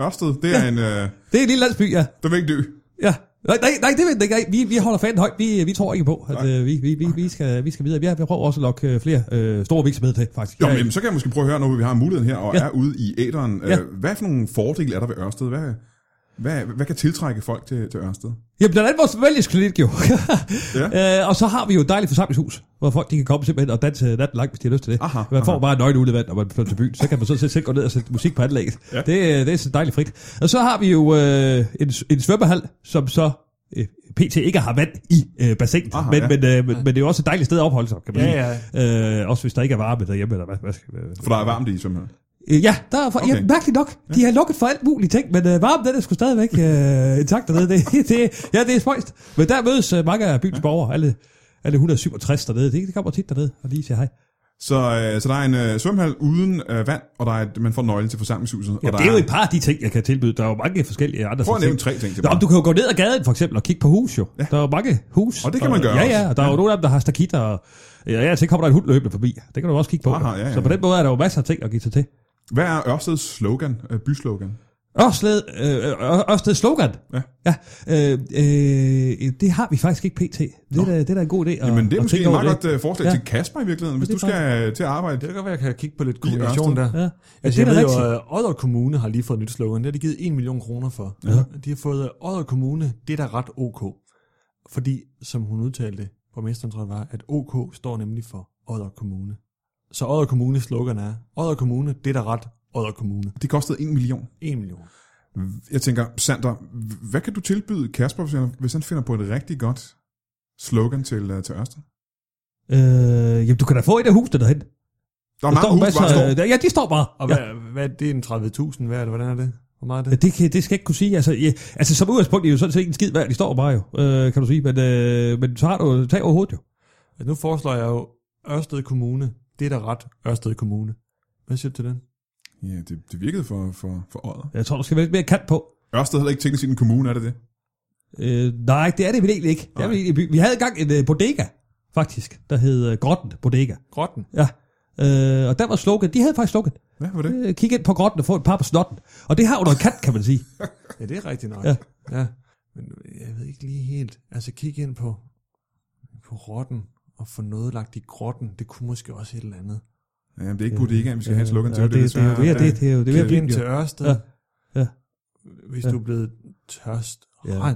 Speaker 1: Ørsted, det er en... Øh,
Speaker 2: Det er en lille landsby, ja.
Speaker 1: den vil ikke dø.
Speaker 2: ja. Nej, nej, nej, det ved jeg ikke. Vi, vi holder fanden højt. Vi, vi tror ikke på, at
Speaker 1: Nej.
Speaker 2: øh, vi, vi, vi, vi, skal, vi skal videre. Vi, har, vi prøver også at lokke øh, flere øh, store virksomheder til, faktisk.
Speaker 1: Jo,
Speaker 2: Ja,
Speaker 1: men jamen, så kan jeg måske prøve at høre, når vi har muligheden her og ja.
Speaker 2: Ja.
Speaker 1: er ude i æderen.
Speaker 2: Ja.
Speaker 1: Ja. Hvad for nogle fordele er der ved Ørsted? Hvad, hvad, hvad kan tiltrække folk til, til Ørsted?
Speaker 2: Ja, blandt andet vores vælgesklinik jo.
Speaker 1: Ja.
Speaker 2: ja. øh, og så har vi jo et dejligt forsamlingshus, hvor folk de kan komme simpelthen og danse natten lang, hvis de har lyst til det.
Speaker 1: Aha,
Speaker 2: man får
Speaker 1: aha.
Speaker 2: bare en nøgle vand, når man flytter til byen. Så kan man så selv selv gå ned og sætte musik på anlægget.
Speaker 1: Ja.
Speaker 2: Ja. Det, øh, det er så dejligt frit. Og så har vi jo øh, en, en svømmehal, som så øh, pt. ikke har vand i øh, bassinet.
Speaker 1: Aha,
Speaker 2: Aha, men,
Speaker 1: ja.
Speaker 2: ja. men, øh, men, men det er jo også et dejligt sted at opholde sig, kan man
Speaker 3: Ja,
Speaker 2: sige. Øh, også hvis der ikke er varme derhjemme, eller hvad, hvad skal, øh,
Speaker 1: For der er varmt i, simpelthen.
Speaker 2: Øh, Ja, der er for, okay.
Speaker 1: Okay.
Speaker 2: ja, mærkeligt nok. De har lukket for alt muligt ting, men øh, varmen den er sgu stadigvæk øh, intakt dernede. Det, det, ja, det er spøjst. Men der mødes øh, mange af byens borgere, alle, alle 167 dernede. Det, det kommer tit dernede og lige siger hej.
Speaker 1: Så, øh, så der er en øh, svømmehal uden øh, vand, og der er, et- man får nøglen til forsamlingshuset.
Speaker 2: Ja,
Speaker 1: og der
Speaker 2: det er jo et par af de ting, jeg kan tilbyde. Der er jo mange forskellige andre
Speaker 1: Prøv at
Speaker 2: slags
Speaker 1: nævne
Speaker 2: ting.
Speaker 1: tre ting til
Speaker 2: Nå,
Speaker 1: mig.
Speaker 2: men du kan jo gå ned ad gaden for eksempel og kigge på hus jo. Ja. Der er jo mange hus.
Speaker 1: Og det kan man gøre
Speaker 2: Ja, ja.
Speaker 1: også.
Speaker 2: Og der er jo nogle af dem, der har stakitter. Og, ja, ja, så kommer der en hund løbende forbi. Det kan du også kigge på.
Speaker 1: Aha, ja, ja,
Speaker 2: Så på
Speaker 1: ja.
Speaker 2: den måde er der jo masser af ting at give sig til.
Speaker 1: Hvad er Ørsteds slogan, øh, byslogan?
Speaker 2: Ørsted, øh, øh, Ørsted slogan.
Speaker 1: Ja.
Speaker 2: ja øh, øh, det har vi faktisk ikke pt. Det, er, da- det er da en god idé. At,
Speaker 1: Jamen, det er
Speaker 2: at
Speaker 1: måske
Speaker 2: tænke
Speaker 1: et
Speaker 2: over
Speaker 1: meget
Speaker 2: det.
Speaker 1: godt øh, forslag
Speaker 2: Ja.
Speaker 1: til Kasper i virkeligheden, hvis
Speaker 2: det
Speaker 1: du
Speaker 2: er
Speaker 1: skal øh, til at arbejde.
Speaker 3: Det kan godt være, at jeg kan kigge på lidt
Speaker 1: Ørsted.
Speaker 3: kommunikation der.
Speaker 2: Ja.
Speaker 3: Altså,
Speaker 2: det er
Speaker 3: jeg
Speaker 2: da
Speaker 3: ved
Speaker 2: rigtigt.
Speaker 1: øh,
Speaker 3: jo, at Odder Kommune har lige fået et nyt slogan. Det har de givet 1 million kroner for. Ja. De har fået øh, Odder Kommune, det er da ret OK. Fordi, som hun udtalte, borgmesteren tror jeg det var, at OK står nemlig for Odder Kommune. Så Odder Kommunes slogan er, Odder Kommune, det er da ret Odder Kommune.
Speaker 1: Det kostede en million.
Speaker 3: 1 million.
Speaker 1: Jeg tænker, Sander, hvad kan du tilbyde Kasper, hvis han, hvis han finder på et rigtig godt slogan til, øh, til Ørsted?
Speaker 2: Øh, jamen, du kan da få et af husene derhen.
Speaker 1: Der er mange hus, der står.
Speaker 2: af, ja, de står bare.
Speaker 3: Og
Speaker 2: ja.
Speaker 3: hvad, ja. hvad er det, en 30.000 værd, eller hvordan er det? Hvor meget er det?
Speaker 2: Det, kan, det skal jeg ikke kunne sige. Altså, ja, altså som udgangspunkt er det jo sådan set ikke en skid værd. De står bare jo, øh, kan du sige. Men, øh, men så har du tag over hovedet jo.
Speaker 3: Altså, nu foreslår jeg jo Ørsted Kommune, det er da ret Ørsted Kommune. Hvad siger du til den?
Speaker 1: Ja, det, det virkede for, for, for øjet.
Speaker 2: Jeg tror, du skal være lidt mere kant på.
Speaker 1: Ørsted er heller ikke teknisk set en kommune, er det det?
Speaker 2: Øh, nej, det er det vel egentlig ikke. Det er
Speaker 1: Nej.
Speaker 2: vel egentlig, by- vi havde engang en øh, bodega, faktisk, der hed øh, Grotten Bodega.
Speaker 3: Grotten.
Speaker 2: Ja. Øh, og der var slogan. De havde faktisk slogan.
Speaker 1: Hvad var det?
Speaker 2: Øh, Kig ind på grotten og få et par på snotten. Og det har jo noget kat, kan man sige.
Speaker 3: Ja, det er rigtigt nok.
Speaker 2: Ja.
Speaker 3: Ja. ja. Men øh, jeg ved ikke lige helt. Altså, kig ind på, på rotten og få noget lagt i grotten. Det kunne måske også et eller andet.
Speaker 1: Ja, det er ikke bodegaen, vi skal have et slogan til.
Speaker 2: Ja, det, det, det, er jo det, det, det, det, er jo- det, er
Speaker 3: Kig
Speaker 2: ved at
Speaker 3: ind til
Speaker 2: blive-
Speaker 3: Ørsted.
Speaker 2: Ja. Ja.
Speaker 3: Hvis
Speaker 2: Ja.
Speaker 3: du er blevet tørst.
Speaker 2: Ja.
Speaker 3: Ja.
Speaker 2: Ja.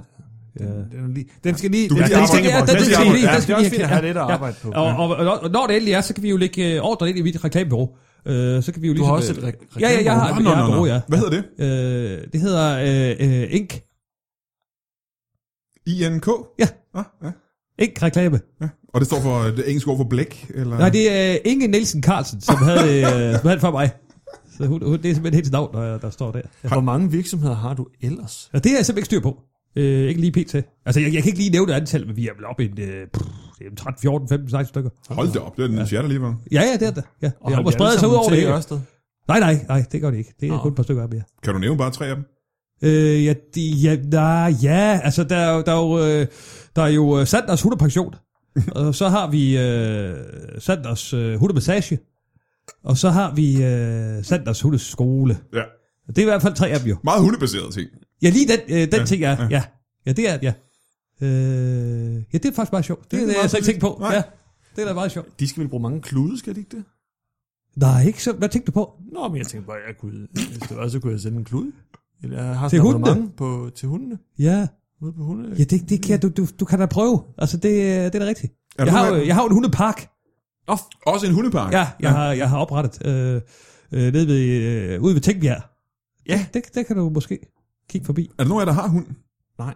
Speaker 3: Den, den, er lige, den skal lige...
Speaker 1: Du kan
Speaker 3: den
Speaker 1: lige
Speaker 3: skal
Speaker 1: arbejde
Speaker 3: lige-
Speaker 1: på.
Speaker 3: ja,
Speaker 1: Den
Speaker 3: den
Speaker 1: skal
Speaker 3: skal
Speaker 1: lige-
Speaker 3: lige-
Speaker 1: den
Speaker 2: skal
Speaker 3: den skal
Speaker 2: lige
Speaker 3: også fint at
Speaker 2: have-
Speaker 3: have lidt at
Speaker 2: ja.
Speaker 3: arbejde på.
Speaker 2: Og, og, og, og når det endelig er, så kan vi jo lægge øh, ordre ind i mit reklamebureau. Øh, så kan vi jo
Speaker 3: Du
Speaker 2: ligesom,
Speaker 3: har også et
Speaker 2: øh,
Speaker 3: re-
Speaker 2: Ja, ja, jeg har
Speaker 1: Nå, nå,
Speaker 2: jeg har et
Speaker 1: nå,
Speaker 2: bureau,
Speaker 1: nå.
Speaker 2: ja.
Speaker 1: Hvad hedder det?
Speaker 2: Øh, det hedder øh, øh, Ink.
Speaker 1: INK?
Speaker 2: Ja.
Speaker 1: Ah, ja.
Speaker 2: Ink reklame.
Speaker 1: ja. Og det står for øh, det engelske ord for blæk? Eller?
Speaker 2: Nej, det er øh, Inge Nielsen Carlsen, som havde, øh, som havde det for mig. Så hun, hun, det er simpelthen hendes navn, der, der står der.
Speaker 3: Hvor mange virksomheder har du ellers?
Speaker 2: Og det er jeg simpelthen ikke styr på. Øh, ikke lige pt. Altså, jeg, jeg kan ikke lige nævne antallet, men vi er vel oppe i en, øh, pff, det er en 13, 14, 15, 16 stykker.
Speaker 1: Hold da op, det er den sjette alligevel.
Speaker 2: Ja, ja, det er det. Ja. Og
Speaker 3: har
Speaker 2: jeg må
Speaker 3: de alle
Speaker 2: sprede sig ud
Speaker 3: sammen
Speaker 2: over
Speaker 3: til
Speaker 2: det hele.
Speaker 3: Ørsted?
Speaker 2: Nej, nej, nej, det gør det ikke. Det er
Speaker 3: Nå.
Speaker 2: kun et par stykker af mere.
Speaker 1: Kan du nævne bare tre af dem?
Speaker 2: Øh, ja, de, ja, nej, ja, altså, der, er jo- der er jo, øh, der er jo øh, Sanders hundepension. og så har vi øh, Sanders øh, hundemassage. Og så har vi øh, Sanders hundeskole.
Speaker 1: Ja.
Speaker 2: Det er i hvert fald tre af dem jo.
Speaker 1: Meget hundebaserede ting.
Speaker 2: Ja, lige den, øh, den
Speaker 1: Ja,
Speaker 2: ja, ting, ja,
Speaker 1: ja.
Speaker 2: ja. ja. Ja, det er ja. Øh, ja, det er faktisk meget sjovt. Det,
Speaker 1: Det er
Speaker 2: det, det har jeg
Speaker 1: meget
Speaker 2: slet ikke tænkt på.
Speaker 1: Nej.
Speaker 2: Ja, det er da meget sjovt.
Speaker 3: De skal vel bruge mange klude, skal de ikke det?
Speaker 2: Nej, ikke så. Hvad tænkte du på?
Speaker 3: Nå, men jeg tænkte bare, jeg kunne, hvis det var, så kunne jeg sende en klude. Eller jeg har
Speaker 2: Til
Speaker 3: til
Speaker 2: hundene?
Speaker 3: hundene? På, til hundene.
Speaker 2: Ja,
Speaker 3: Ude på hunde.
Speaker 2: ja det, det kan, du, du, du kan da prøve. Altså, det, det er da rigtigt.
Speaker 1: Er
Speaker 2: Jeg
Speaker 1: du
Speaker 2: har,
Speaker 1: med?
Speaker 2: jo- jeg har jo en hundepark.
Speaker 1: Oh, også en hundepark?
Speaker 2: Ja, jeg, har, jeg har oprettet øh, øh, nede ved, øh, ude ved Tænkbjerg.
Speaker 3: Ja.
Speaker 2: Det, det kan du måske kigge forbi.
Speaker 1: Er der nogen af jer, der har hund?
Speaker 3: Nej,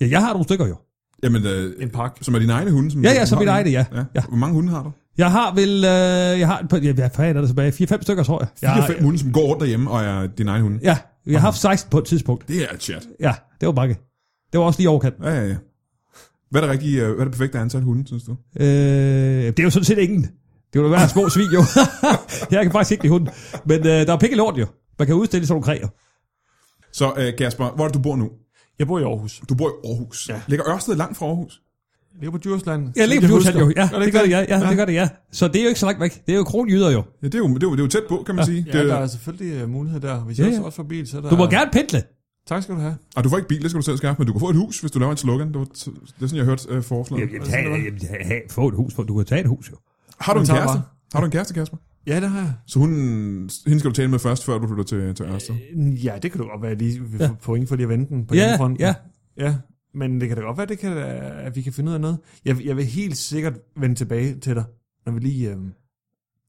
Speaker 2: Ja, jeg har nogle stykker jo.
Speaker 1: Jamen, øh,
Speaker 3: en pakke.
Speaker 1: som er dine egne hunde? Som
Speaker 2: Ja,
Speaker 1: du-
Speaker 2: ja,
Speaker 1: du
Speaker 2: som
Speaker 1: har
Speaker 2: mit
Speaker 1: nu?
Speaker 2: eget, ja.
Speaker 1: ja.
Speaker 2: Ja.
Speaker 1: Hvor mange hunde har du?
Speaker 2: Jeg har vel, øh, jeg har, ja, hvad fanden er der tilbage? 4-5 stykker, tror jeg. jeg
Speaker 1: Fire
Speaker 2: har-
Speaker 1: fem hunde, som går rundt derhjemme og er dine egne hunde.
Speaker 2: Ja, jeg har haft 16 på et tidspunkt.
Speaker 1: Det er et chat.
Speaker 2: Ja, det var mange. Det var også lige overkanten.
Speaker 1: Ja, ja, ja. Hvad er det rigtige, øh, hvad er det perfekte antal hunde, synes du?
Speaker 2: Øh, det er jo sådan set ingen. Det ville være små svin, jo. jeg kan faktisk ikke lide hunden. Men øh, der er pikke lort, jo. Man kan udstille sådan nogle kræer.
Speaker 1: Så øh, Kasper, hvor er det, du bor nu?
Speaker 3: Jeg bor i Aarhus.
Speaker 1: Du bor i Aarhus.
Speaker 3: Ja.
Speaker 1: Ligger Ørsted langt fra Aarhus?
Speaker 3: Ligger på Djursland.
Speaker 2: Ja, ligger på Djursland jo. Ja,
Speaker 3: Gør
Speaker 2: det
Speaker 3: ikke
Speaker 2: gør det, ja, ja, det gør det, ja. Så det er jo ikke så langt væk. Det er jo kronjyder jo.
Speaker 1: Ja, det er jo, det er jo, det er jo tæt på, kan man sige.
Speaker 3: Ja,
Speaker 1: Det,
Speaker 3: der er selvfølgelig uh, mulighed der. Hvis
Speaker 2: Ja,
Speaker 3: jeg
Speaker 2: ja.
Speaker 3: også også får bil, så er der...
Speaker 2: Du må gerne pendle.
Speaker 3: Tak skal du have.
Speaker 1: og Ah, du får ikke bil, det skal du selv skaffe, men du kan få et hus, hvis du laver en slogan. Det, var, det er sådan, jeg hørte øh, forslaget.
Speaker 2: Jamen, tag, jamen, ha- ha- få et hus, for du kan tage et hus jo.
Speaker 1: Har du en
Speaker 3: tager
Speaker 1: kæreste?
Speaker 3: bare.
Speaker 1: Har du en kæreste, Kasper?
Speaker 3: Ja, det har jeg.
Speaker 1: Så hun, hende skal du tale med først, før du flytter til, til
Speaker 2: Øh.
Speaker 1: Ørsted.
Speaker 3: Ja, det kan du godt være, at lige vi får ja. point for lige at vente den på
Speaker 2: Ja,
Speaker 3: hjemmefronten.
Speaker 2: ja.
Speaker 3: ja. Men det kan da godt være, det kan, da- at vi kan finde ud af noget. Jeg, jeg vil helt sikkert vende tilbage til dig, når vi lige... Øh,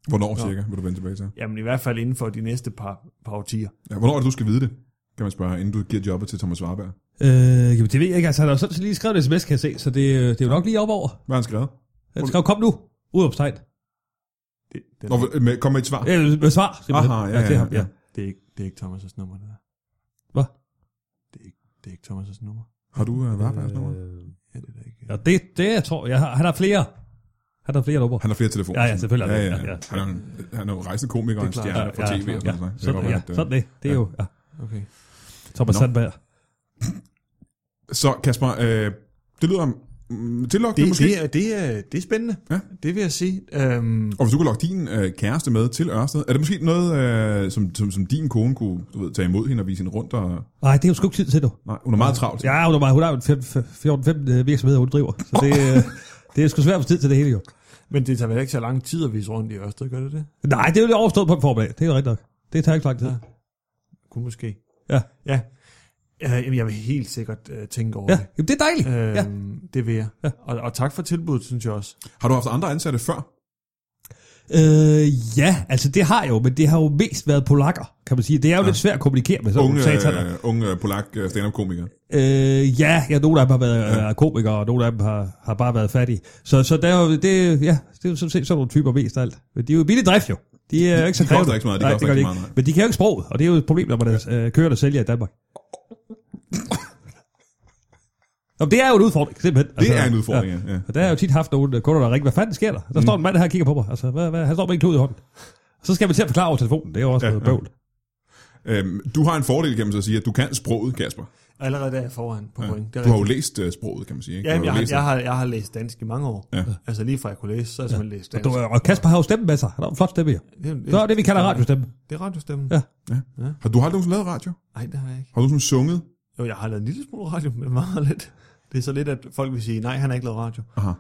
Speaker 1: Hvornår
Speaker 3: Nå.
Speaker 1: cirka vil du vende tilbage til?
Speaker 3: jamen i hvert fald inden for de næste par, par årtier.
Speaker 1: Ja, hvornår er det, du skal vide det? Kan man spørge, inden du giver jobbet til Thomas Warberg.
Speaker 2: Øh, jamen, det ved jeg ikke. Altså, han har jo sådan set lige skrevet det sms, kan jeg se, så det, øh, det er jo nok lige op over.
Speaker 1: Hvad har han skrevet?
Speaker 2: Han skrev, kom nu. Udopstegn.
Speaker 3: Det, det,
Speaker 1: Nå, med, kom med et svar.
Speaker 2: Ja, med svar. simpelthen.
Speaker 1: Aha, ja, ja,
Speaker 2: til ham,
Speaker 1: ja.
Speaker 3: det, er ikke, det er ikke Thomas' nummer, det der.
Speaker 2: Hvad?
Speaker 3: Det er ikke, det er ikke Thomas' nummer.
Speaker 1: Har du uh, Warbergs nummer?
Speaker 2: Øh,
Speaker 3: Ja, det er da ikke.
Speaker 2: Ja, det, det jeg tror jeg. har- Han har flere. Han har flere numre.
Speaker 1: Han har flere telefoner.
Speaker 2: Ja, ja, selvfølgelig
Speaker 1: Ja,
Speaker 2: har
Speaker 1: ja,
Speaker 2: han
Speaker 1: ja.
Speaker 2: det. Ja, ja.
Speaker 1: Han, er, jo en- han er jo rejsende komiker og en
Speaker 3: Det er klart.
Speaker 1: stjerne fra tv. og
Speaker 2: ja,
Speaker 1: sådan noget. Det
Speaker 2: sådan,
Speaker 1: var
Speaker 2: ja,
Speaker 1: godt, øh.
Speaker 2: sådan det. Det er
Speaker 1: ja.
Speaker 2: jo ja.
Speaker 3: Okay.
Speaker 2: Thomas
Speaker 1: Nå.
Speaker 2: Sandberg.
Speaker 1: Så Kasper, øh, det lyder mm, tillokkende
Speaker 3: Det,
Speaker 1: måske.
Speaker 3: det, er, det, er, det er spændende.
Speaker 1: Ja.
Speaker 3: Det vil jeg sige. Øhm,
Speaker 1: Og hvis du kunne lokke din øh, kæreste med til Ørsted, er det måske noget, øh, som, som, som din kone kunne du ved, tage imod hende og vise hende rundt? Og,
Speaker 2: Nej, det er jo sgu ikke tid til, du.
Speaker 1: nej, hun er meget travlt.
Speaker 2: Ja, hun, er meget, hun har jo en fem- f- 14-15 øh, virksomheder, hun driver. Så det, øh, det er sgu svært at få tid til det hele, jo.
Speaker 3: men det tager vel ikke så lang tid at vise rundt i Ørsted, gør det det?
Speaker 2: Nej, det er jo lige overstået på en formiddag. Det er jo rigtigt nok. Det tager ikke lang tid.
Speaker 3: Ja. Kun måske.
Speaker 2: Ja.
Speaker 3: Ja. ja jamen, jeg vil helt sikkert øh, tænke over
Speaker 2: Ja,
Speaker 3: det.
Speaker 2: jamen, det er dejligt.
Speaker 3: Øhm,
Speaker 2: Ja.
Speaker 3: Det vil jeg. Ja. Og, og tak for tilbuddet, synes jeg også.
Speaker 1: Har du haft andre ansatte før?
Speaker 2: Øh, ja, altså det har jeg jo, men det har jo mest været polakker, kan man sige. Det er jo ja. lidt svært at kommunikere med sådan
Speaker 1: Unge,
Speaker 2: nogle sataner.
Speaker 1: øh, unge øh, polak øh, stand-up-komiker.
Speaker 2: Øh, ja, ja, nogle af dem har været ja. komikere, og nogle af dem har, har bare været fattige. Så, så der er jo, det, ja, det er jo sådan set sådan nogle typer mest af alt. Men de er jo billig drift jo. De er jo ikke så
Speaker 1: de koster
Speaker 2: krævende.
Speaker 1: ikke så meget, de
Speaker 2: Nej,
Speaker 1: koster
Speaker 2: det gør
Speaker 1: ikke så
Speaker 2: de
Speaker 1: meget, nej.
Speaker 2: Men de kan jo ikke sproget, og det er jo et problem, når man er øh, kører og sælger i Danmark. Nå, men det er jo en udfordring, simpelthen. Altså,
Speaker 1: Det er en udfordring, ja. Mm. ja.
Speaker 2: Og der har jeg jo tit haft nogle øh, kunder, der ringer, hvad fanden sker der? Der står en mand her og kigger på mig. Altså, hvad, hvad, han står med en klud i hånden. Så skal man til at forklare over telefonen. Det er jo også
Speaker 1: Ja,
Speaker 2: ja, noget
Speaker 1: ja.
Speaker 2: bøvl.
Speaker 1: Øhm, du har en fordel, kan man så sige, at du kan sproget, Kasper.
Speaker 3: Allerede der er jeg foran på ja. point. Det er
Speaker 1: Du har jo
Speaker 3: rigtigt.
Speaker 1: læst øh, sproget, kan man sige. Ikke?
Speaker 3: Jamen,
Speaker 1: du
Speaker 3: jeg,
Speaker 1: har jo
Speaker 3: har,
Speaker 1: læst
Speaker 3: jeg, har, jeg har læst dansk i mange år.
Speaker 1: Ja.
Speaker 3: Altså lige fra jeg kunne læse, så har jeg simpelthen læst dansk.
Speaker 2: Du, øh, og Kasper har jo stemme med sig. Han har jo en flot stemme, jo.
Speaker 3: det, er-
Speaker 2: Det er jo det, vi kalder radiostemme.
Speaker 3: Det er radiostemmen.
Speaker 2: Ja.
Speaker 3: Ja.
Speaker 1: det. Har du aldrig nogensinde lavet radio?
Speaker 3: Nej, det har jeg ikke.
Speaker 1: Har du nogensinde sunget?
Speaker 3: Jo, jeg har lavet en lille smule radio, men meget lidt. Det er så lidt, at folk vil sige, nej, han har ikke lavet radio.
Speaker 1: Aha.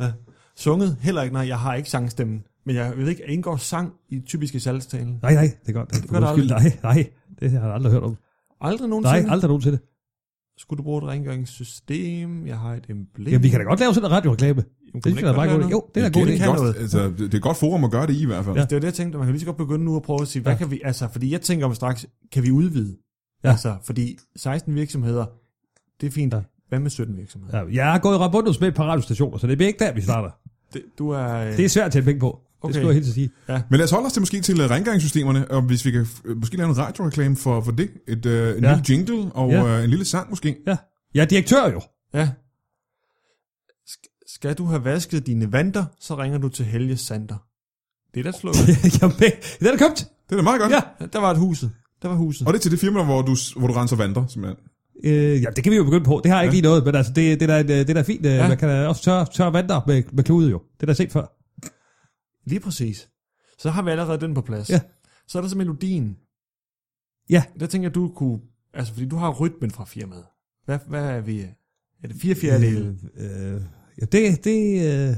Speaker 3: Ja. Sunget heller ikke, nej, jeg har ikke sangstemmen. Men jeg ved ikke, jeg indgår sang i typiske salgstalen.
Speaker 2: Nej, nej, det er godt. Det
Speaker 3: gør der
Speaker 2: skyld. Nej, nej, det har jeg aldrig hørt om.
Speaker 3: Aldrig
Speaker 2: Nej,
Speaker 3: nogensinde.
Speaker 2: aldrig nogensinde.
Speaker 3: Skulle du bruge et rengøringssystem? Jeg har et emblem.
Speaker 2: Jamen, vi kan da godt lave sådan en radioreklame.
Speaker 3: Jamen,
Speaker 2: Det
Speaker 3: kunne man
Speaker 2: synes jeg
Speaker 3: ikke
Speaker 2: er meget
Speaker 3: godt
Speaker 2: god.
Speaker 3: lave
Speaker 2: idé. Jo, det er da en god
Speaker 1: Igen,
Speaker 2: idé.
Speaker 1: et
Speaker 3: kan
Speaker 1: godt,
Speaker 3: noget.
Speaker 1: altså, det det er et godt forum at gøre det i, i hvert fald.
Speaker 2: Ja.
Speaker 1: Ja.
Speaker 3: Altså, Det var det, jeg tænkte. Man kan lige så godt begynde nu at prøve at sige, hvad
Speaker 2: Ja.
Speaker 3: ja. kan vi, altså, fordi jeg tænker om straks, kan vi udvide?
Speaker 2: Ja.
Speaker 3: Ja. Altså, fordi 16 virksomheder, det er fint.
Speaker 2: Ja.
Speaker 3: Ja. Hvad med 17 virksomheder?
Speaker 2: Ja,
Speaker 3: Ja.
Speaker 2: Jeg har gået rabundus med et par radiostationer, så det bliver ikke der, vi starter.
Speaker 3: Det, du er... øh,
Speaker 2: Det er svært at tjene penge på. Det
Speaker 3: Okay.
Speaker 2: skulle jeg helt sige.
Speaker 1: Men lad os holde os til måske til øh, rengøringssystemerne, og hvis vi kan øh, måske lave en radioreklame for, for det. Et, øh, en
Speaker 2: Ja.
Speaker 1: ja. lille jingle og
Speaker 2: Ja.
Speaker 1: ja. øh, en lille sang måske.
Speaker 2: Ja. Jeg er direktør jo.
Speaker 3: ja. Sk- skal du have vasket dine vanter, så ringer du til Helge Sander. Det er da slået.
Speaker 2: Jamen, det er da købt.
Speaker 1: Det er da meget godt.
Speaker 2: Ja.
Speaker 1: Ja.
Speaker 3: der var et huset. Der var huset.
Speaker 1: Og det er til det firma, hvor du, hvor du renser vanter, simpelthen.
Speaker 2: Øh, ja, det kan vi jo begynde på. Det har jeg ikke lige noget, men altså, det, det, er da, en, øh, det er da fint. Ja.
Speaker 3: Ja.
Speaker 2: Man kan da også tørre, tørre vandre med, med klude jo. Det er da set før.
Speaker 3: Lige præcis. Så har vi allerede den på plads.
Speaker 2: Ja.
Speaker 3: Så er der så melodien.
Speaker 2: Ja.
Speaker 3: Der tænker jeg, du kunne... Altså, fordi du har rytmen fra firmaet. Hvad, hvad er vi... Er det fire fjerdedele?
Speaker 2: Øh, øh, ja, det... det øh,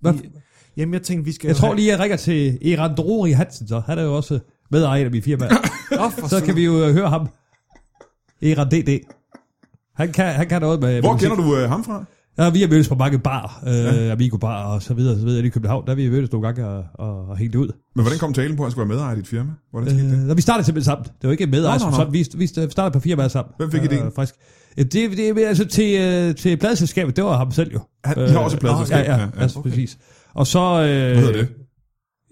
Speaker 2: hvad,
Speaker 3: Vi- Jamen, jeg tænkte, vi skal...
Speaker 2: jeg tror lige, jeg ringer til Eran Drori Hansen, så han er jo også medejer af min firma.
Speaker 3: Oh,
Speaker 2: så kan vi jo øh, høre ham. Eran DD. Han kan, han kan noget med...
Speaker 1: Hvor
Speaker 2: med
Speaker 1: kender du øh, ham fra?
Speaker 2: Ja, vi har mødtes på mange bar, øh, ja. Amigo Bar og så videre, så videre, i København. Der har vi mødtes nogle gange og, og, og hængt ud.
Speaker 1: Men hvordan kom talen på, at han skulle være medejer i dit firma? Hvordan skete det?
Speaker 2: Øh, når vi startede simpelthen sammen. Det var ikke med
Speaker 1: Nå,
Speaker 2: os,
Speaker 1: nå, nå.
Speaker 2: sådan. Vi, vi startede på fire mand sammen.
Speaker 1: Hvem fik ideen?
Speaker 2: Øh, frisk. Ja, det, det, er altså til, øh, til pladeselskabet, det var ham selv jo. Øh,
Speaker 1: Han, I har også et pladeselskab.
Speaker 2: Ja, ja, ja, altså, okay. præcis. Og så... Øh,
Speaker 1: Hvad hedder det?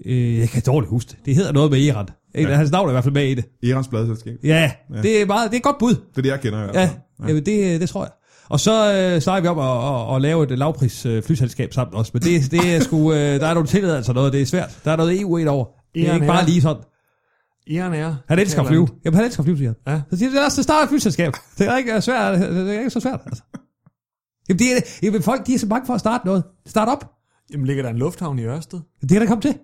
Speaker 2: Øh, jeg kan dårligt huske det. Det hedder noget med Eran. Ja.
Speaker 1: Ja.
Speaker 2: Hans navn er i hvert fald med i det.
Speaker 1: Erans pladeselskab.
Speaker 2: Ja, ja. det er, meget, det er et godt bud.
Speaker 1: Det er det, jeg kender i hvert
Speaker 2: Ja,
Speaker 1: fald.
Speaker 2: ja. Jamen, det, det tror jeg. Og så øh, snakker vi om at, at, at lave et lavpris øh, flyselskab sammen også, men det, det er sgu, øh, der er nogle tilladelser noget, det er svært. Der er noget EU ind over. Det er
Speaker 3: Eran
Speaker 2: ikke bare
Speaker 3: er-
Speaker 2: lige sådan.
Speaker 3: Iren er...
Speaker 2: Han elsker at flyve. Jamen, han elsker at flyve, siger han.
Speaker 3: Ja.
Speaker 2: Så siger han, lad os starte et flyselskab. Det er ikke øh, svært, det er ikke så svært, altså. Jamen, det er, jamen, folk de er så bange for at starte noget. Start op.
Speaker 3: Jamen ligger der en lufthavn i Ørsted?
Speaker 2: Det kan der komme til.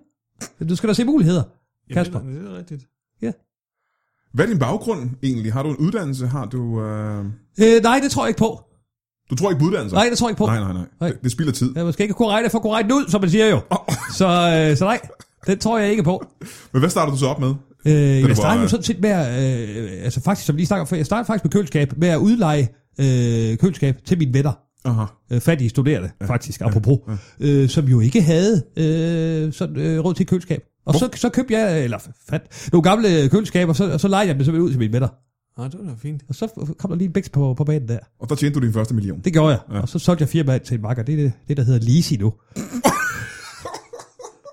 Speaker 2: Du skal da se muligheder,
Speaker 3: Jamen,
Speaker 2: Kasper.
Speaker 3: Det, er, det er rigtigt.
Speaker 1: Hvad er din baggrund egentlig? Har du en uddannelse? Har du... Øh...
Speaker 2: Øh, nej, det tror jeg ikke på.
Speaker 1: Du tror ikke på uddannelse?
Speaker 2: Nej, det tror jeg ikke på.
Speaker 1: nej, nej. nej.
Speaker 2: Nej.
Speaker 1: Det, det spilder tid.
Speaker 2: Jeg er måske ikke korrekt for korrekt ud, som man siger jo. Så, øh, så nej, det tror jeg ikke på.
Speaker 1: Men hvad starter du så op med?
Speaker 2: Øh,
Speaker 1: var-
Speaker 2: jeg startede jo sådan set med at, øh, altså faktisk, som vi lige snakker for, jeg startede faktisk med køleskab, med at udleje øh, køleskab til mine venner.
Speaker 1: Aha.
Speaker 2: Øh, fattige studerende, ja, faktisk, apropos, ja, ja. Øh, som jo ikke havde øh, sådan, øh, råd til et køleskab. Og så, så købte jeg, eller fat, nogle gamle køleskaber, og så, og så lejede jeg dem simpelthen ud til mine venner.
Speaker 3: Nå, det var da fint.
Speaker 2: Og så kom der lige en bæks på, på banen der.
Speaker 1: Og der tjente du din første million.
Speaker 2: Det gjorde jeg. Ja. Og så solgte jeg firmaet til en makker. Det er det, det der hedder leasing nu.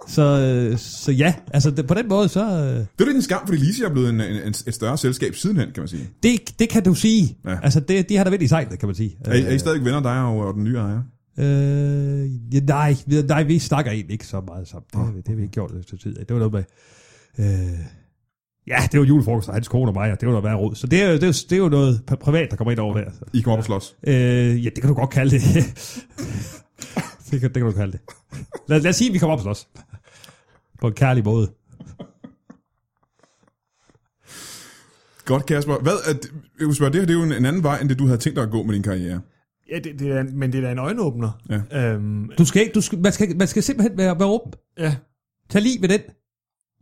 Speaker 2: så, øh, så ja, altså det, på den måde, så... øh,
Speaker 1: Det er lidt en skam, fordi Lise er blevet en, en, en, et større selskab sidenhen, kan man sige.
Speaker 2: Det, det kan du sige.
Speaker 1: Ja.
Speaker 2: Ja. Altså, det, de har da været i sejlet, kan man sige.
Speaker 1: Er, I- er I stadig venner, dig og, og den nye ejer?
Speaker 2: Øh, ja, nej, vi- nej, vi snakker egentlig ikke så meget sammen. Det, det har vi ikke gjort så tid. af. Det var noget med... Øh, ja, det var julefrokost, og hans kone og mig, og det var noget værd råd. Så det er, jo- det, er, jo- det er jo noget pri- privat, der kommer ind over der. Så.
Speaker 1: I kommer op og slås.
Speaker 2: Øh, ja, det kan du godt kalde det. det, kan, det kan du kalde det. Lad, lad os sige, at vi kommer op og slås. På en kærlig måde.
Speaker 1: Godt, Kasper. Hvad er, det- jeg kunne spørge, det her det er jo en, en anden vej, end det du havde tænkt dig at gå med din karriere.
Speaker 3: Ja, det, det er, en- men det er da en øjenåbner.
Speaker 1: Ja.
Speaker 3: Øhm,
Speaker 2: Du skal ikke, du skal, man, skal, man skal simpelthen være, være åben.
Speaker 3: ja.
Speaker 2: Tag lige med den.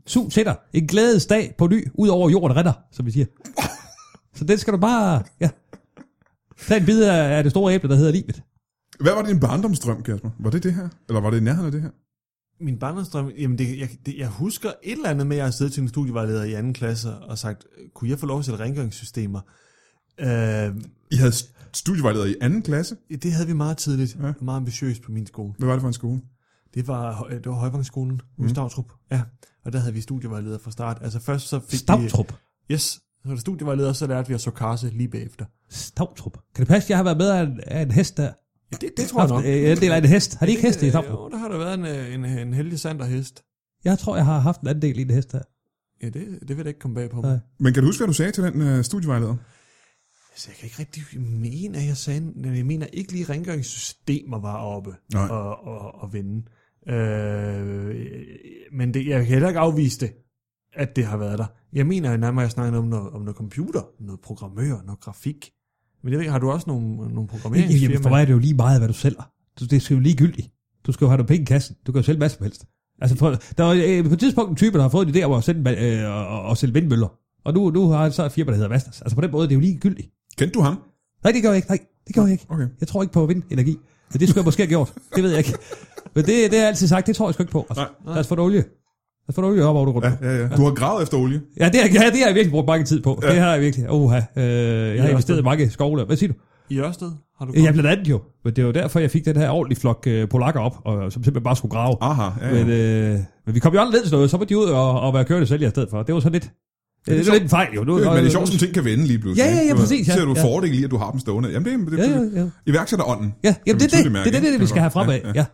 Speaker 2: Sug til dig. En glædes dag på ny, ud over jorden redder, som vi siger. Så den skal du bare... Ja. Tag en bid af af det store æble, der hedder livet.
Speaker 1: Hvad var din barndomsdrøm, Kasper? Var det det her? Eller var det i nærheden af det her?
Speaker 3: Min barndomsdrøm, jamen det, jeg, det, jeg husker et eller andet med, at jeg har siddet til en studievejleder i anden klasse og sagt, kunne jeg få lov at sætte rengøringssystemer? Øh,
Speaker 1: I havde st- studievejleder i anden klasse.
Speaker 3: det havde vi meget tidligt.
Speaker 1: Ja.
Speaker 3: Ja. Meget ambitiøst på min skole.
Speaker 1: Hvad var det for en skole?
Speaker 3: Det var, øh, det var Højvangsskolen mm. i Stavtrup. Ja, og der havde vi studievejleder fra start. Altså først så fik vi...
Speaker 2: Stavtrup.
Speaker 3: Yes, så var der studievejleder, og så lærte vi at så karse lige bagefter.
Speaker 2: Stavtrup. Kan det passe, at jeg har været med af en, af en hest der?
Speaker 3: Ja, det, det tror jeg nok.
Speaker 2: Haft, øh, en del af en hest. Har de ikke heste i
Speaker 3: Øh,
Speaker 2: Stavtrup?
Speaker 3: Jo, der har der været en, øh, en, en heldig sanderhest.
Speaker 2: Jeg tror, jeg har haft en anden del i en hest der.
Speaker 3: Ja, det, det vil da ikke komme bag på mig.
Speaker 2: Nej.
Speaker 1: Men kan du huske, hvad du sagde til den øh, studievejleder?
Speaker 3: Altså, jeg kan ikke rigtig mene, at jeg sagde, men jeg mener ikke lige, at rengøringssystemer var oppe
Speaker 1: Nej.
Speaker 3: og, og, og vende. Øh, men det, jeg kan heller ikke afvise det, at det har været der. Jeg mener nærmere, at jeg snakker om noget, om noget computer, noget programmør, noget grafik. Men jeg ved ikke, har du også nogle, nogle
Speaker 2: Jamen, for mig
Speaker 3: programmeringsfirmaer?
Speaker 2: er det jo lige meget, hvad du sælger. Du- Det er jo ligegyldigt. Du skal jo have nogle penge i kassen. Du kan jo sælge hvad som helst. Altså, for, der var øh, på et tidspunkt en type, der har fået en idé om at, sende, øh, og, og- og sælge vindmøller. Og nu, nu har han så et firma, der hedder Vestas. Altså på den måde, det er jo ligegyldigt.
Speaker 1: Kendte du ham?
Speaker 2: Nej, det gør jeg ikke. Nej, det gør jeg ikke.
Speaker 1: Okay.
Speaker 2: Jeg tror ikke på vindenergi. Men det skulle jeg måske have gjort. Det ved jeg ikke. Men det, det har jeg altid sagt. Det tror jeg sgu ikke på. Altså,
Speaker 1: Nej.
Speaker 2: lad os få noget olie. Lad os få noget olie op over det grund.
Speaker 1: Ja,
Speaker 2: Ja.
Speaker 1: ja, ja. Du har gravet efter olie.
Speaker 2: Ja, det, har- ja, det har jeg virkelig brugt mange tid på. Ja. Det har jeg virkelig. Oha. Øh, jeg har
Speaker 3: også
Speaker 2: investeret
Speaker 3: det.
Speaker 2: i mange skovler. Hvad siger du?
Speaker 3: I Ørsted har du
Speaker 2: Ja,
Speaker 3: kommet-
Speaker 2: blandt andet jo. Men det var derfor, jeg fik den her ordentlige flok øh, polakker op, og, som simpelthen bare skulle grave.
Speaker 1: Aha, ja, ja.
Speaker 2: Men, øh, men vi kom jo aldrig ned til noget, så var de ud og, og være kørende sælger i stedet for. Det var sådan lidt... Ja, det,
Speaker 1: er
Speaker 2: det var lidt en fejl, jo. Nu,
Speaker 1: Det, er- men det er
Speaker 2: nu-
Speaker 1: sjovt, som ting kan vende lige pludselig.
Speaker 2: øh, Ja, ja, ja,
Speaker 1: ikke? Du-
Speaker 2: præcis, ja.
Speaker 1: Ser du
Speaker 2: Ja.
Speaker 1: fordel i, at du har dem stående? Jamen, det, er- det,
Speaker 2: Ja,
Speaker 1: det,
Speaker 2: ja, ja.
Speaker 1: iværksætterånden. kan
Speaker 2: Ja,
Speaker 1: man
Speaker 2: jamen, det, er
Speaker 1: tydeligt
Speaker 2: det,
Speaker 1: mærke,
Speaker 2: det, er
Speaker 1: ikke?
Speaker 2: det, det, vi skal have fremad.
Speaker 1: Ja,
Speaker 2: Ja,
Speaker 1: ja.
Speaker 2: ja. ja.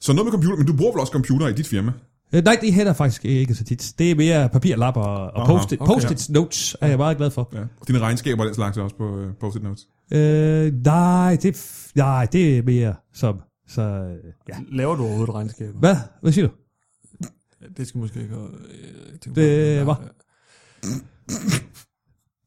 Speaker 1: Så noget med computer, men du bruger vel også computer i dit firma?
Speaker 2: Øh, nej, det hænder faktisk ikke så tit. Det er mere papirlapper og, og
Speaker 1: Aha,
Speaker 2: post-it.
Speaker 1: okay.
Speaker 2: Post-its notes er jeg meget glad for.
Speaker 1: Ja. Og dine regnskaber og den slags er også på øh, post-it notes.
Speaker 2: Øh, nej, det, er f- nej, det er mere som... Så, øh, ja.
Speaker 3: Laver du overhovedet regnskaber?
Speaker 2: Hvad? Hvad siger du?
Speaker 3: Det skal måske ikke... Øh, tænke
Speaker 2: Det
Speaker 3: på.
Speaker 2: var-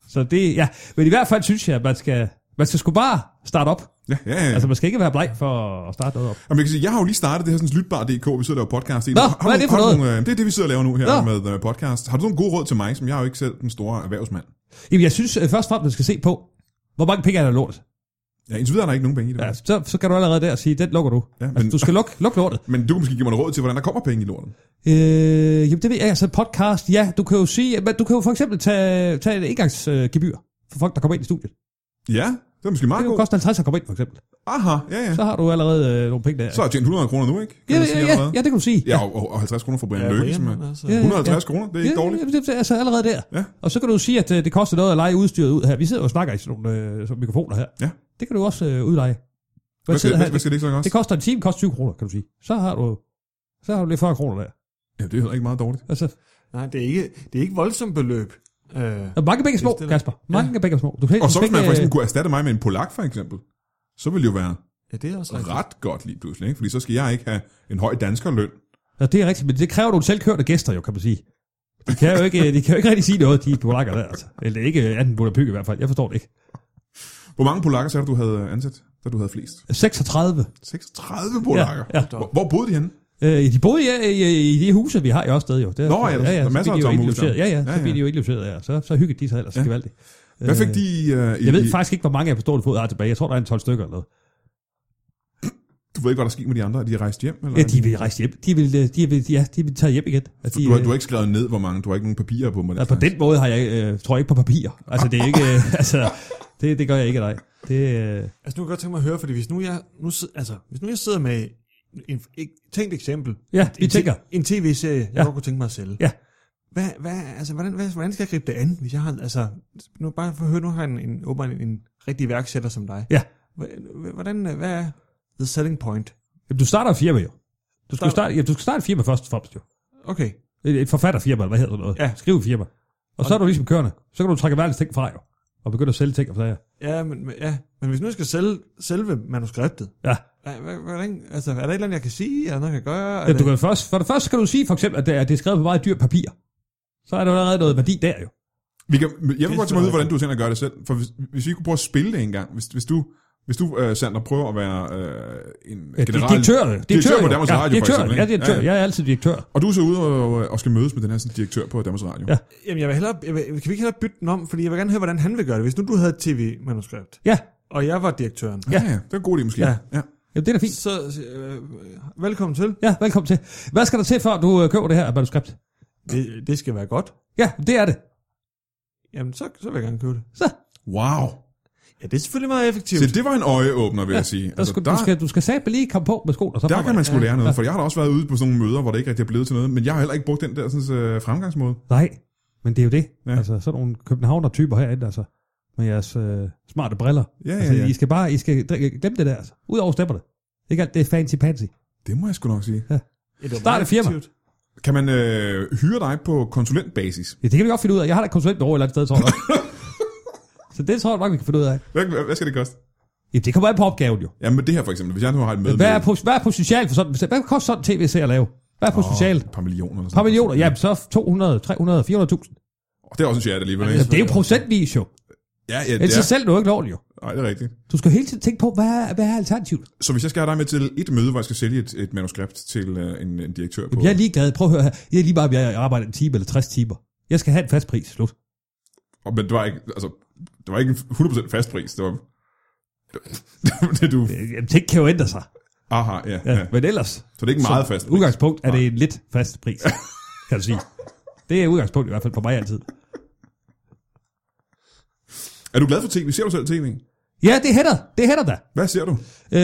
Speaker 2: Så det, ja. Men i hvert fald synes jeg, at man skal, man skal sgu bare starte op.
Speaker 1: Ja, ja, ja.
Speaker 2: Altså, man skal ikke være bleg for at starte noget op.
Speaker 1: Jamen, jeg, kan sige, jeg har jo lige startet det her sådan lytbar.dk, vi sidder og laver podcast i.
Speaker 2: Nå,
Speaker 1: Har du-
Speaker 2: hvad er det for
Speaker 1: har du
Speaker 2: noget?
Speaker 1: Nogle, øh, det er det, vi sidder og laver nu her
Speaker 2: Nå.
Speaker 1: med øh, podcast. Har du nogle gode råd til mig, som jeg er jo ikke selv den store erhvervsmand?
Speaker 2: Jamen, jeg synes øh, først og fremmest, man skal se på, hvor mange penge er der i lortet.
Speaker 1: Ja, indtil videre er der ikke nogen penge i det.
Speaker 2: Ja,
Speaker 1: Ja.
Speaker 2: så, så kan du allerede der sige, den lukker du.
Speaker 1: Ja,
Speaker 2: Ja,
Speaker 1: men-
Speaker 2: men... altså, du skal lukke luk lortet.
Speaker 1: Men du kan måske give mig noget råd til, hvordan der kommer penge i lorten.
Speaker 2: Øh, jamen, det ved jeg. Altså, podcast, ja, du kan jo sige, men du kan jo for eksempel tage, tage et engangsgebyr øh, gebyr for folk, der kommer ind i studiet.
Speaker 1: Ja, det er måske
Speaker 2: Det
Speaker 1: meget
Speaker 2: kan jo
Speaker 1: godt.
Speaker 2: koste 50 at komme ind, for eksempel.
Speaker 1: Aha, ja, ja.
Speaker 2: Så har du allerede øh, nogle penge der.
Speaker 1: Så har jeg tjent 100 kroner nu, ikke?
Speaker 2: ja,
Speaker 1: jeg sige
Speaker 2: ja, ja,
Speaker 1: allerede?
Speaker 2: ja, det kan du sige.
Speaker 1: Ja, og, og- og 50 kroner for Brian
Speaker 3: Ja,
Speaker 1: Løkke, som er
Speaker 3: Brian, altså.
Speaker 2: Ja,
Speaker 1: 150 kroner, det er ikke dårligt.
Speaker 2: Ja, det er altså allerede der.
Speaker 1: Ja.
Speaker 2: Og så kan du jo sige, at øh, det koster noget at lege udstyret ud her. Vi sidder jo og snakker i sådan nogle øh, sådan nogle mikrofoner her.
Speaker 1: Ja.
Speaker 2: Det kan du også øh, udleje.
Speaker 1: Hvad skal,
Speaker 2: sidder
Speaker 1: hvad,
Speaker 2: her?
Speaker 1: hvad skal det så også?
Speaker 2: Det koster en time, koster 20 kroner, kan du sige. Så har du, så har du lige 40 kroner der.
Speaker 1: Ja, det er heller ikke meget dårligt.
Speaker 2: Altså,
Speaker 3: Nej, det er ikke, det er ikke voldsomt beløb. Øh,
Speaker 2: der er mange begge små,
Speaker 3: Det er stille.
Speaker 2: Kasper. Mange ja. begge små. Du kan
Speaker 1: Og
Speaker 2: du
Speaker 1: så
Speaker 2: skal
Speaker 1: hvis man
Speaker 2: ikke,
Speaker 1: for eksempel
Speaker 2: øh,
Speaker 1: kunne erstatte mig med en polak, for eksempel. så vil det jo være
Speaker 3: Ja, det er også rigtigt.
Speaker 1: ret godt lige pludselig, ikke? Fordi så skal jeg ikke have en høj danskerløn.
Speaker 2: øh, Ja, det er rigtigt, men det kræver nogle selvkørte gæster jo, kan man sige. De kan jo ikke, øh, de kan jo ikke rigtig sige noget, de polakker der, altså. Eller ikke 18 Buddha Pyg i hvert fald, jeg forstår det ikke.
Speaker 1: Hvor mange polakker sagde du, du havde øh, ansat, da du havde flest?
Speaker 2: 36.
Speaker 1: 36 polakker?
Speaker 2: Ja, ja.
Speaker 1: Hvor, hvor boede de henne?
Speaker 2: Øh, de boede ja, i, i, de huse, vi har i Ørsted jo. Der,
Speaker 1: Nå, ja, der- der er
Speaker 2: så
Speaker 1: masser
Speaker 2: bliver de
Speaker 1: af
Speaker 2: jo
Speaker 1: sommerhuse
Speaker 2: indlogeret. Ja,
Speaker 1: der.
Speaker 2: ja,
Speaker 1: Ja,
Speaker 2: så bliver
Speaker 1: ja.
Speaker 2: de jo indlogeret, ja. Så, så hyggede de sig ellers,
Speaker 1: Ja.
Speaker 2: ja. gevaldigt.
Speaker 1: Hvad fik
Speaker 2: Øh,
Speaker 1: de øh, i...
Speaker 2: Jeg ved
Speaker 1: i-
Speaker 2: faktisk ikke, hvor mange jeg på stående fod har tilbage. Jeg tror, der er en 12 stykker eller noget.
Speaker 1: Du ved ikke, hvad der skete med de andre? Er de rejst hjem? Eller
Speaker 2: Ja,
Speaker 1: er
Speaker 2: de vil rejse hjem. De vil, øh, de vil, ja, de vil tage hjem igen. Altså, de,
Speaker 1: Du har,
Speaker 2: øh,
Speaker 1: du har ikke skrevet ned, hvor mange. Du har ikke nogen papirer på mig.
Speaker 2: Ja, Altså, på den måde har jeg, øh, tror jeg ikke på papir. Altså, det er ikke, øh, altså, det, det gør jeg ikke, nej. Det, øh,
Speaker 3: Altså, nu kan jeg godt tænke mig at høre, fordi hvis nu jeg, nu, sid- altså, hvis nu jeg sidder med en, et tænkt eksempel.
Speaker 2: ja, vi
Speaker 3: En ti-
Speaker 2: tænker.
Speaker 3: En tv-serie, jeg
Speaker 2: Ja.
Speaker 3: godt kunne tænke mig at sælge.
Speaker 2: Ja.
Speaker 3: Hvad, hvad, altså, hvordan, hvad, hvordan skal jeg gribe det an, hvis jeg har, altså, nu bare for at høre, nu har jeg en, en, åbenbart en, en rigtig iværksætter som dig.
Speaker 2: Ja.
Speaker 3: Hva- Hvordan, hvad er the selling point?
Speaker 2: Jamen, du starter et firma jo. Du skal,
Speaker 3: Starter-
Speaker 2: jo starte, ja, du skal starte et firma først og fremmest jo.
Speaker 3: Okay,
Speaker 2: Et, et forfatterfirma, eller hvad hedder det noget?
Speaker 3: Ja.
Speaker 2: Skriv firma. Og så er du ligesom kørende. Så kan du trække verdens ting fra jo. Og begynde at sælge ting og sager.
Speaker 3: ja, men, men- ja, men hvis nu jeg skal sælge selve manuskriptet,
Speaker 2: Ja.
Speaker 3: hva- hva- hvordan, altså, er der et eller andet, jeg kan sige, eller noget, jeg kan gøre? Er
Speaker 2: ja
Speaker 3: det-
Speaker 2: du kan først, for det første skal du sige for eksempel, at det er, det er skrevet på meget dyrt papir. Så er der jo allerede noget værdi der jo.
Speaker 1: Vi kan, jeg vil godt
Speaker 3: Det
Speaker 1: tænke mig at vide,
Speaker 3: tror jeg
Speaker 1: hvordan du tænker at gøre det selv. For hvis, hvis vi kunne prøve at spille det en gang. Hvis, hvis du, hvis du øh, Sander, prøver at være øh, en
Speaker 2: Ja,
Speaker 1: general...
Speaker 2: direktør,
Speaker 1: direktør på
Speaker 2: jo.
Speaker 1: Danmarks
Speaker 2: ja,
Speaker 1: Radio, for
Speaker 2: direktør,
Speaker 1: eksempel,
Speaker 2: Ja,
Speaker 1: ikke?
Speaker 2: direktør.
Speaker 1: Ja,
Speaker 2: Ja,
Speaker 1: ja.
Speaker 2: Jeg er altid direktør.
Speaker 1: Og du er så ude og, og skal mødes med den her sådan, direktør på Danmarks Radio.
Speaker 2: Ja.
Speaker 3: Jamen, jeg vil hellere, jeg vil, kan vi ikke hellere bytte den om, fordi jeg vil gerne høre, hvordan han vil gøre det. Hvis nu du havde et tv-manuskript,
Speaker 2: Ja,
Speaker 3: og jeg var direktøren,
Speaker 1: ja. ja det er en god idé måske.
Speaker 3: Ja.
Speaker 1: ja.
Speaker 2: Jamen, det er da fint.
Speaker 3: så øh, velkommen til.
Speaker 2: Ja, velkommen til. Hvad skal der til, før du øh, køber det her manuskript?
Speaker 3: Det, det skal være godt.
Speaker 2: Ja, det er det.
Speaker 3: Jamen, så, så vil jeg gerne købe det.
Speaker 2: Så,
Speaker 1: Wow.
Speaker 3: Ja, det er selvfølgelig meget effektivt.
Speaker 1: Så det var en øjeåbner, vil jeg sige. Altså,
Speaker 2: der skal,
Speaker 1: der,
Speaker 2: du skal, du skal satme lige komme på med skoene. og Så
Speaker 1: der kan
Speaker 2: fremad.
Speaker 1: man sgu lære noget. For jeg har da også været ude på sådan nogle møder, hvor det ikke rigtig er blevet til noget. Men jeg har heller ikke brugt den der sådan, øh, fremgangsmåde.
Speaker 2: Nej, men det er jo det.
Speaker 1: Ja.
Speaker 2: Ja. Altså, sådan nogle københavner-typer herinde, altså. Med jeres øh, smarte briller.
Speaker 1: Ja, ja,
Speaker 2: altså,
Speaker 1: ja.
Speaker 2: I skal bare, I skal glemme det der, altså. Udover stemmer det. Ikke alt det er fancy-pansy.
Speaker 1: Det må jeg sgu nok sige.
Speaker 3: Ja, det var
Speaker 2: Start
Speaker 3: meget
Speaker 2: et firma.
Speaker 3: effektivt.
Speaker 1: Kan man øh, hyre dig på konsulentbasis?
Speaker 2: Ja, det kan vi godt finde ud af. Jeg har da et konsulentbureau et eller andet sted, tror jeg. så det tror jeg nok, vi kan finde ud af.
Speaker 1: Hvad, hvad hvad skal det koste?
Speaker 2: Jamen, det kommer an på opgaven jo.
Speaker 1: Jamen det her for eksempel, hvis jeg nu har et møde
Speaker 2: Hvad er,
Speaker 1: med
Speaker 2: po- hvad er potentialet for sådan? Hvad koster sådan en tv-serie at lave? Hvad er potentialet?
Speaker 1: et par millioner eller
Speaker 2: Et
Speaker 1: sådan
Speaker 2: par millioner,
Speaker 1: noget.
Speaker 2: jamen så 200, 300, 400.000.
Speaker 1: Og Det er også en chat alligevel,
Speaker 2: Altså,
Speaker 1: ikke?
Speaker 2: det er jo procentvis jo.
Speaker 1: Ja, ja, det
Speaker 2: Ellers så
Speaker 1: er.
Speaker 2: selv du ikke lovligt jo.
Speaker 1: Nej, det er rigtigt.
Speaker 2: Du skal hele tiden tænke på, hvad er, hvad er alternativet?
Speaker 1: Så hvis jeg skal have dig med til et møde, hvor jeg skal sælge et, et manuskript til øh, en, en direktør på...
Speaker 2: Jamen, jeg er ligeglad. Prøv at høre her. Jeg er lige bare, om jeg arbejder en time eller 60 timer. Jeg skal have en fast pris, slut.
Speaker 1: Og, men det var ikke, altså, det var ikke en 100% fast pris. Det var... Det, var det du...
Speaker 2: Øh, Jamen, ting kan jo ændre sig.
Speaker 1: Aha, ja,
Speaker 2: Ja.
Speaker 1: ja.
Speaker 2: Men ellers,
Speaker 1: Så det er ikke meget
Speaker 2: som
Speaker 1: fast pris.
Speaker 2: udgangspunkt, er det en lidt fast pris, kan du sige. Det er udgangspunkt i hvert fald for mig altid.
Speaker 1: Er du glad for tv? Ser du selv tv?
Speaker 2: Ja, det hætter. Det hætter da.
Speaker 1: Hvad ser du?
Speaker 2: Øh,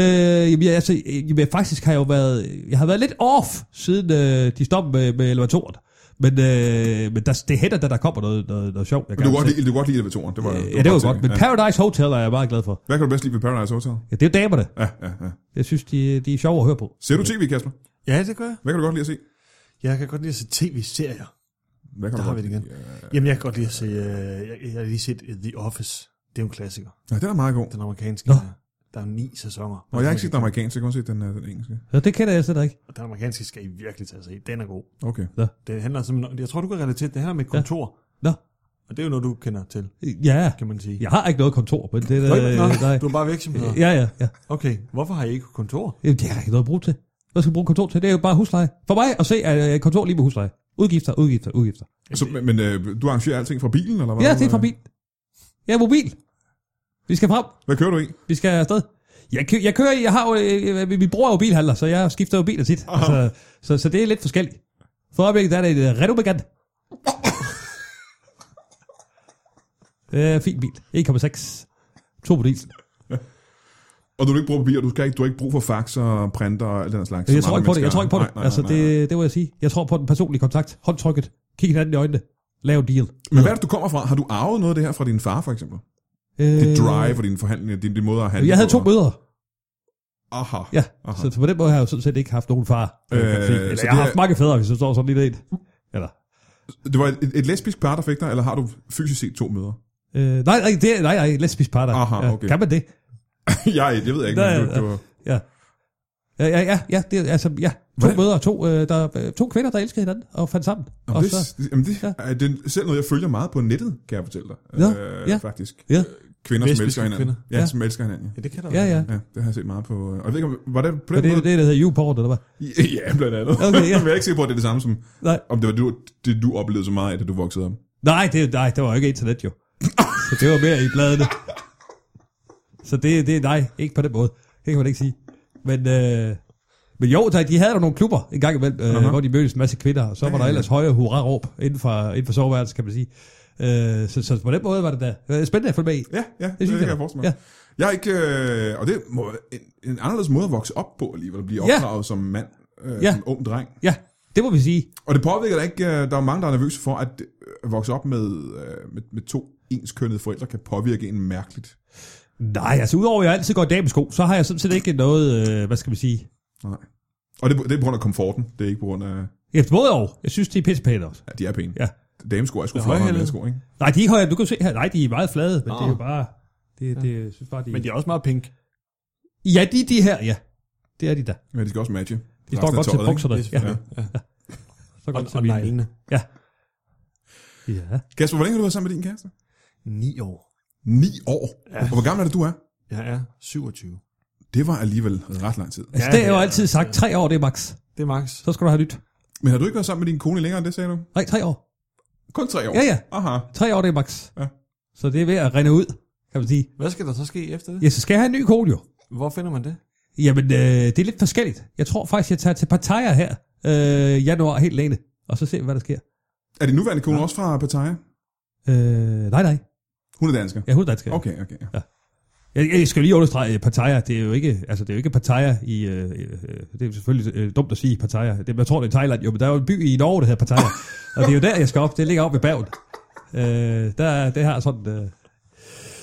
Speaker 2: jamen, jeg, altså, øh, jamen, jeg faktisk har jeg jo været, jeg har været lidt off, siden øh, de stoppede med, med elevatoren. Men, øh, men der, det hætter, da der kommer noget, noget, noget sjovt. Jeg
Speaker 1: Men du
Speaker 2: gerne
Speaker 1: kan godt
Speaker 2: vil
Speaker 1: lide, du kan godt lide elevatoren. Det var,
Speaker 2: se. Øh, ja, det var godt.
Speaker 1: tv.
Speaker 2: Men
Speaker 1: Ja.
Speaker 2: Paradise Hotel er jeg meget glad for.
Speaker 1: Hvad kan du bedst lide ved Paradise Hotel?
Speaker 2: Ja, det er jo damerne.
Speaker 1: Ja, ja, ja.
Speaker 2: Jeg synes, de, de er sjove at høre på.
Speaker 1: Ser du tv, Kasper?
Speaker 3: Ja, det gør jeg.
Speaker 1: Hvad kan du godt lide at se?
Speaker 3: Jeg kan godt lide at se tv-serier.
Speaker 1: Hvad kan
Speaker 3: Der
Speaker 1: du
Speaker 3: har
Speaker 1: godt
Speaker 3: vi det igen.
Speaker 1: lide? Ja.
Speaker 3: Jamen, jeg kan godt lide at se... Øh, jeg, jeg har lige set øh, The Office. Det er jo en klassiker.
Speaker 1: ja, den er meget god.
Speaker 3: Den amerikanske. øh,
Speaker 2: Nå.
Speaker 3: Der er jo ni sæsoner.
Speaker 1: Og jeg har ikke set den amerikanske, jeg har kun set den, øh, den engelske.
Speaker 2: Ja, det kender jeg slet ikke.
Speaker 3: Og den amerikanske skal I virkelig tage sig i. Den er god.
Speaker 1: Okay.
Speaker 3: Det handler simpelthen... om- Jeg tror, du kan relatere det. Det handler om et kontor.
Speaker 2: Nå.
Speaker 3: Og det er jo noget, du kender til,
Speaker 2: Ja,
Speaker 3: kan man sige.
Speaker 2: jeg har ikke noget kontor, men det
Speaker 3: Nå,
Speaker 2: er... Øh,
Speaker 3: nå,
Speaker 2: nej.
Speaker 3: du er bare virksomheder.
Speaker 2: Ja, ja, ja.
Speaker 3: Okay, hvorfor har I ikke kontor?
Speaker 2: Jamen, det har jeg ikke noget at bruge til. Hvad skal jeg bruge kontor til? Det er jo bare husleje. For mig at se, at øh, kontor lige med husleje. Udgifter, udgifter, udgifter.
Speaker 1: Så, men- men øh, du arrangerer alting fra bilen, eller hvad?
Speaker 2: Ja, det er fra bil. Ja, mobil. Vi skal frem.
Speaker 1: Hvad kører du i?
Speaker 2: Vi skal afsted. Jeg, kø- jeg kører i, jeg har jo, øh, øh, vi bruger jo bilhandler, så jeg skifter jo biler tit. Altså, så, så det er lidt forskelligt. For øjeblikket der er det et øh, Renault Megane. øh, fin bil. 1,6. To på diesel.
Speaker 1: Og du ikke bruger papir, du, skal ikke, du har ikke brug for fax og printer og alt den slags.
Speaker 2: Jeg
Speaker 1: som
Speaker 2: tror
Speaker 1: andre
Speaker 2: ikke på det. Jeg
Speaker 1: mennesker
Speaker 2: tror ikke på
Speaker 1: har.
Speaker 2: det. Altså, det, det må jeg sige. Jeg tror på den personlige kontakt. Håndtrykket. Kig hinanden i øjnene. Lav en deal.
Speaker 1: Men hvad er det, du kommer fra? Har du arvet noget af det her fra din far, for eksempel?
Speaker 2: Øh,
Speaker 1: Dit drive og dine forhandlinger, din, din måde at handle
Speaker 2: Jeg havde
Speaker 1: på,
Speaker 2: to
Speaker 1: og-
Speaker 2: mødre.
Speaker 1: Aha.
Speaker 2: Ja,
Speaker 1: Aha.
Speaker 2: Aha. så på den måde har jeg jo sådan set ikke haft nogen far. Øh,
Speaker 1: Øh,
Speaker 2: Eller
Speaker 1: så
Speaker 2: jeg har
Speaker 1: det er-
Speaker 2: haft mange fædre, hvis du står sådan lidt en. Eller,
Speaker 1: Det var et, et lesbisk par, der fik dig, eller har du fysisk set to møder?
Speaker 2: øh, nej, nej, det, er- nej, nej, lesbisk par der.
Speaker 1: Aha, okay.
Speaker 2: Kan man det?
Speaker 1: jeg, jeg ved ikke, men
Speaker 2: Der-
Speaker 1: du, du,
Speaker 2: Ja. Ja, ja, ja, ja, det, er- altså, ja. To
Speaker 1: Hvordan-
Speaker 2: mødre og to, øh, der, øh, to kvinder, der elskede hinanden og fandt sammen.
Speaker 1: Nå,
Speaker 2: og
Speaker 1: det,
Speaker 2: så,
Speaker 1: jamen det,
Speaker 2: ja.
Speaker 1: er, det er selv noget, jeg følger meget på nettet, kan jeg fortælle dig. Øh,
Speaker 2: Ja, ja.
Speaker 1: Faktisk.
Speaker 2: Ja.
Speaker 1: Kvinder, som
Speaker 3: Lesbiske
Speaker 1: elsker hinanden.
Speaker 3: kvinder.
Speaker 1: Ja,
Speaker 2: Ja.
Speaker 1: som elsker hinanden.
Speaker 3: Ja, det kan der
Speaker 2: ja,
Speaker 3: være.
Speaker 2: ja.
Speaker 1: Ja. ja, det har jeg set meget på. øh, Og jeg ved ikke, om, var det på
Speaker 2: Men
Speaker 1: den
Speaker 2: det er jo
Speaker 1: måde?
Speaker 2: det, der hedder YouPort, eller hvad?
Speaker 1: Ja, blandt andet.
Speaker 2: Okay, ja.
Speaker 1: Men jeg er ikke sikker på, at det er det samme som,
Speaker 2: Nej,
Speaker 1: om det var du, det, du oplevede så meget af, da du voksede op.
Speaker 2: nej, det, nej, det var jo ikke internet, jo. Så det var mere i bladene. Så det, det nej, ikke på den måde. Det kan man ikke sige. Men, øh, men jo, der, de havde jo nogle klubber en gang imellem, øh,
Speaker 1: Aha.
Speaker 2: uh-huh. hvor de mødtes en masse kvinder, og så var der ellers høje hurra-råb inden for, inden for soveværelset, kan man sige. Øh, så, så på den måde var det da øh, spændende at følge med i.
Speaker 1: Ja, ja, det,
Speaker 2: synes
Speaker 1: det
Speaker 2: jeg
Speaker 1: kan
Speaker 2: da.
Speaker 1: jeg forestille mig. Ja. Jeg
Speaker 2: Ja.
Speaker 1: er ikke, øh, og det må være en, en anderledes måde at vokse op på alligevel, at blive
Speaker 2: Ja.
Speaker 1: opdraget som mand, øh,
Speaker 2: Ja.
Speaker 1: som ung dreng.
Speaker 2: Ja, det må vi sige.
Speaker 1: Og det påvirker dig ikke, øh, der er mange, der er nervøse for, at øh, vokse op med, øh, med, med to enskønnede forældre kan påvirke en mærkeligt.
Speaker 2: Nej, altså udover at jeg altid går i damesko, så har jeg sådan set ikke noget, øh, hvad skal man sige,
Speaker 1: Nej. Og det, er på- det er på grund af komforten, det er ikke på grund af,
Speaker 2: efter både og. Jeg synes, de er pissepæne også.
Speaker 1: at de er pæne.
Speaker 2: Ja.
Speaker 1: Damesko er sgu
Speaker 3: Med
Speaker 1: flottere end
Speaker 3: højhælede.
Speaker 1: sko, ikke?
Speaker 2: Nej, de er høje, du kan jo se her, nej, de er meget flade, men
Speaker 3: Nå.
Speaker 2: det
Speaker 1: Ah.
Speaker 2: er jo bare, det, det, jeg synes bare, de,
Speaker 3: Men de er også meget pink.
Speaker 2: Ja, de er de her, ja. Det er de der.
Speaker 1: Men de skal også matche.
Speaker 2: De står godt til bukserne.
Speaker 3: Det er
Speaker 2: Ja,
Speaker 3: selvfølgelig. Ja.
Speaker 2: så
Speaker 3: Og,
Speaker 2: godt
Speaker 3: og
Speaker 2: til mine.
Speaker 3: neglene.
Speaker 2: Ja. Ja.
Speaker 1: Kasper, hvor længe har du været sammen med din kæreste?
Speaker 3: Ni år.
Speaker 1: 9 år. Ja. Og hvor gammel er det, du er?
Speaker 3: Jeg er 27.
Speaker 1: Det var alligevel ret lang tid.
Speaker 2: Altså, ja,
Speaker 3: Ja,
Speaker 2: det er
Speaker 3: det
Speaker 2: jo
Speaker 3: er-
Speaker 2: altid sagt, tre år, det er max.
Speaker 3: Det er max.
Speaker 2: Så skal du have nyt.
Speaker 1: Men har du ikke været sammen med din kone længere end det, sagde du?
Speaker 2: Nej, tre år.
Speaker 1: Kun tre år?
Speaker 2: Ja, ja.
Speaker 1: Aha.
Speaker 2: Tre år, det er max.
Speaker 1: Ja.
Speaker 2: Så det er ved at rende ud, kan man sige.
Speaker 3: Hvad skal der så ske efter det?
Speaker 2: Ja, så skal jeg have en ny kone, jo.
Speaker 3: Hvor finder man det?
Speaker 2: Jamen, øh, det er lidt forskelligt. Jeg tror faktisk, jeg tager til Pattaya her øh, januar helt alene, og så ser vi, hvad der sker.
Speaker 1: Er din nuværende kone ja. også fra Pattaya?
Speaker 2: Øh, nej, nej.
Speaker 1: Hun er dansker?
Speaker 2: Jeg er dansker.
Speaker 1: Okay, okay. Ja.
Speaker 2: Jeg, jeg skal lige understrege, at Pattaya, det er jo ikke, altså, det er jo ikke Pattaya i, øh, øh, det er selvfølgelig øh, dumt at sige Pattaya, det, jeg tror det er Thailand, jo, men der er jo en by i Norge, der hedder Pattaya, og det er jo der, jeg skal op, det ligger op ved Bergen. Øh, der, er- det her sådan, øh,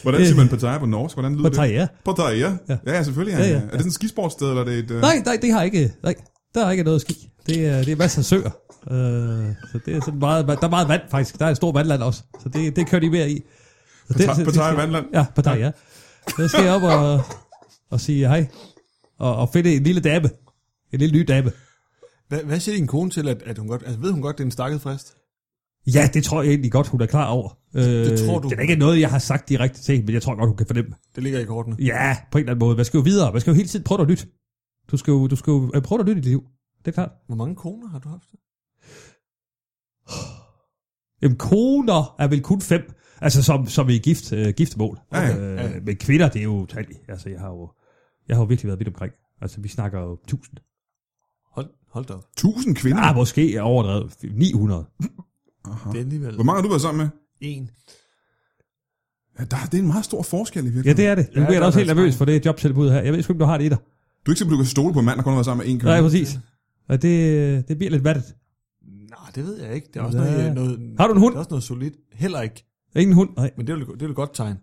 Speaker 1: Hvordan siger man Pattaya på norsk? Hvordan lyder det?
Speaker 2: Pattaya.
Speaker 1: Pattaya. Ja,
Speaker 2: Ja.
Speaker 1: ja selvfølgelig. Ja,
Speaker 2: Ja,
Speaker 1: ja. Er
Speaker 2: ja,
Speaker 1: det sådan et skisportssted, eller er det et... øh,
Speaker 2: Nej, nej, det har ikke, nej, der er ikke noget ski. Det er, det er masser af søer. Øh, så det er sådan meget, der er meget vand faktisk, der er et stort vandland også, så det, det kører de mere i. Så det-
Speaker 1: Pattaya-
Speaker 2: det- det
Speaker 1: Pattaya
Speaker 2: skal-
Speaker 1: vandland?
Speaker 2: Ja, Pattaya, ja. Så skal jeg op og, og sige hej, og, og finde en lille dabe, en lille ny dabe.
Speaker 3: Hvad, hvad siger din kone til, at, at hun godt... Altså, ved hun godt, det er en stakket frist?
Speaker 2: Ja, det tror jeg egentlig godt, hun er klar over. Øh, det
Speaker 3: tror du?
Speaker 2: Det er ikke noget, jeg har sagt direkte til hende, men jeg tror godt, hun kan fornemme.
Speaker 3: Det ligger i kortene.
Speaker 2: Ja, på en eller anden måde. Man skal jo videre. Man skal jo hele tiden prøve noget nyt. Du skal jo, du skal jo øh, prøve noget nyt i dit liv. Det er klart.
Speaker 3: Hvor mange koner har du haft?
Speaker 2: Jamen, koner er vel kun fem. Altså, som, som i gift, øh, giftemål.
Speaker 1: Ja, ja,
Speaker 2: Øh,
Speaker 3: ja.
Speaker 2: Men kvinder, det er jo utalligt. Altså, jeg har jo, jeg har jo virkelig været vidt omkring. Altså, vi snakker jo tusind.
Speaker 3: Hold, hold da op.
Speaker 1: 1000 kvinder?
Speaker 2: Ah, måske er overdrevet 900. Ah.
Speaker 1: Aha.
Speaker 3: Det er alligevel
Speaker 1: Hvor mange har du været sammen med?
Speaker 3: en.
Speaker 1: Ja, der, det er en meget stor forskel i
Speaker 2: Ja,
Speaker 1: virkeligheden.
Speaker 2: det er det. Nu
Speaker 3: Ja,
Speaker 2: bliver jeg
Speaker 3: der
Speaker 2: da
Speaker 3: er
Speaker 2: også helt
Speaker 3: faktisk
Speaker 2: nervøs
Speaker 3: mange.
Speaker 2: for det jobtilbud her. Jeg ved sgu ikke, om du har det i dig.
Speaker 1: Du er ikke sikker på, du kan stole på en mand, der kun har været sammen med en kvinde.
Speaker 2: Nej, præcis. Og det, det bliver lidt vattet.
Speaker 3: Nej, det ved jeg ikke. Det er også
Speaker 2: Ja.
Speaker 3: noget, noget...
Speaker 2: Har du en hund?
Speaker 3: Det er også noget solidt. Heller ikke.
Speaker 2: Ingen hund, nej.
Speaker 3: Men det er jo det er jo et godt tegn.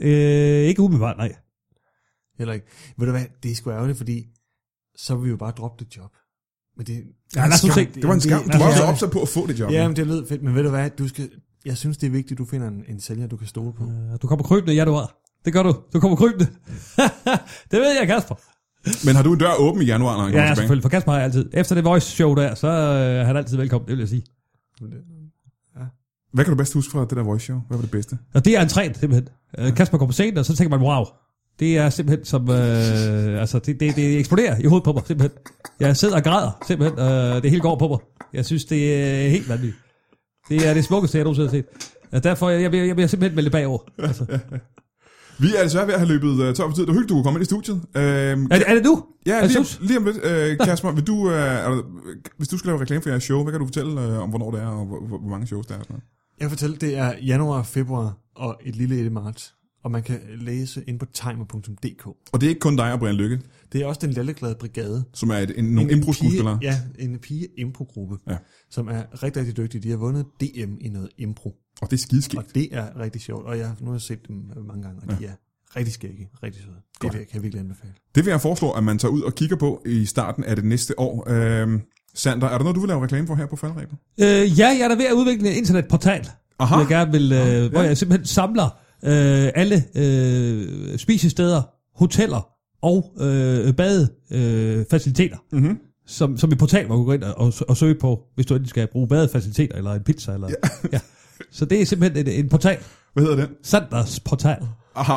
Speaker 2: Øh, ikke umiddelbart, nej.
Speaker 3: Heller ikke. Ved du hvad, det er sgu ærgerligt, fordi så vil vi jo bare droppe det job. Men det,
Speaker 2: Ja, lad os nu se.
Speaker 1: Det var en skam. Du
Speaker 2: det-
Speaker 1: var
Speaker 2: det-
Speaker 1: også
Speaker 2: det-
Speaker 1: opsat på at få det job.
Speaker 3: Ja, men det lød fedt, men ved du hvad, du skal, jeg synes, det er vigtigt, at du finder en, en sælger, du kan stole på.
Speaker 2: Øh, Du kommer krybende i januar. Det gør du. Du kommer krybende. det ved jeg, Kasper.
Speaker 1: Men har du en dør åben i januar, når han
Speaker 2: Ja,
Speaker 1: kommer tilbage?
Speaker 2: selvfølgelig. For Kasper har jeg altid. Efter det voice show der, så øh, er han altid velkommen, det vil jeg sige.
Speaker 1: Hvad kan du bedst huske fra det der voice show? Hvad var det bedste?
Speaker 2: Og det er en træn, simpelthen. Øh, Kasper kommer på scenen, og så tænker man, wow. Det er simpelthen som, øh, altså det, det, det eksploderer i hovedet på mig, simpelthen. Jeg sidder og græder, simpelthen. Øh, det hele går på mig. Jeg synes, det er helt vanvittigt. Det er det smukkeste, jeg nogensinde har set. Og derfor, jeg, jeg, bliver, jeg bliver simpelthen meldt bagover. Altså.
Speaker 1: Vi er desværre ved at have løbet uh, tør for tid. Det var hyggeligt, du kunne komme ind i studiet. Uh,
Speaker 2: Er, det- er det nu?
Speaker 1: ja,
Speaker 2: jeg
Speaker 1: lige, om,
Speaker 2: synes-
Speaker 1: lige om lidt. Uh, Kasper, vil du, uh, er der, hvis du skal lave reklame for jeres show, hvad kan du fortælle uh, om, hvornår det er, og hvor, hvor, hvor mange shows der er? og Sådan noget?
Speaker 3: Jeg fortæller, det er januar, februar og et lille et i marts, og man kan læse ind på timer.dk.
Speaker 1: Og det er ikke kun dig og Brian Lykke,
Speaker 3: Det er også den lalleglade brigade.
Speaker 1: som er et, en, nogle impro-skuespillere.
Speaker 3: Pige, ja, en pige improgruppe,
Speaker 1: Ja.
Speaker 3: ja. som er rigtig, rigtig dygtige. De har vundet DM i noget impro,
Speaker 1: Og det er skideskidt.
Speaker 3: og det er rigtig sjovt, og jeg, har- nu har jeg set dem øh, mange gange, og ja. de er rigtig skægge, rigtig søde. Det vil jeg- kan jeg virkelig anbefale.
Speaker 1: Det vil jeg foreslå, at man tager ud og kigger på i starten af det næste år. Uh, Sander, er der noget, du vil lave reklame for her på faldrebet?
Speaker 2: Øh, ja, jeg er da ved at udvikle en internetportal,
Speaker 1: Aha.
Speaker 2: Aha. jeg gerne vil, øh, hvor jeg simpelthen samler øh, alle øh, spisesteder, hoteller og øh, badefaciliteter, øh, faciliteter,
Speaker 1: Mm-hmm.
Speaker 2: som, som et portal, hvor du går ind og, og, og søge på, hvis du endelig skal bruge badefaciliteter eller en pizza. Eller, ja. ja. Så det er simpelthen en, en portal.
Speaker 1: Hvad hedder den?
Speaker 2: Sanders portal.
Speaker 1: Aha.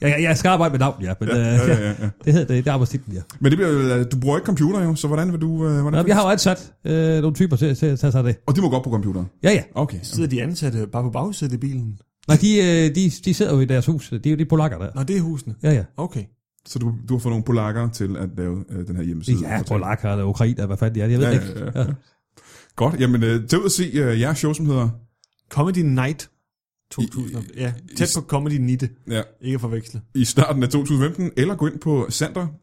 Speaker 2: Jeg, jeg, jeg skal arbejde med navn, ja, men ja,
Speaker 1: ja, ja, ja.
Speaker 2: det hedder det, det er arbejdstitlen, ja.
Speaker 1: Men det bliver, vel- du bruger ikke computer jo, så hvordan vil du... øh, Hvordan
Speaker 2: Nå, jeg har jo ansat øh, nogle typer til, til at tage sig af det.
Speaker 1: Og de må gå op på computeren.
Speaker 2: Ja, ja.
Speaker 1: Okay.
Speaker 3: Sidder de ansatte bare på bagsædet i bilen?
Speaker 2: Nej, de, øh, de, de sidder jo i deres hus. Det er jo de polakker der.
Speaker 3: Nå, det er husene.
Speaker 2: Ja, ja.
Speaker 3: Okay.
Speaker 1: Så du, du har fået nogle polakker til at lave øh, den her hjemmeside.
Speaker 2: Ja, polakker eller ukrainer, hvad fanden de er, jeg ved
Speaker 1: Ja,
Speaker 2: det
Speaker 1: ja,
Speaker 2: ikke.
Speaker 1: ja. Godt, jamen øh, tag ud og se øh, jeres show, som hedder...
Speaker 3: Comedy Night 2000.
Speaker 1: I-
Speaker 3: ja, tæt på Comedy Nitte.
Speaker 1: Ja,
Speaker 3: Ikke at forveksle.
Speaker 1: i starten af 2015, eller gå ind på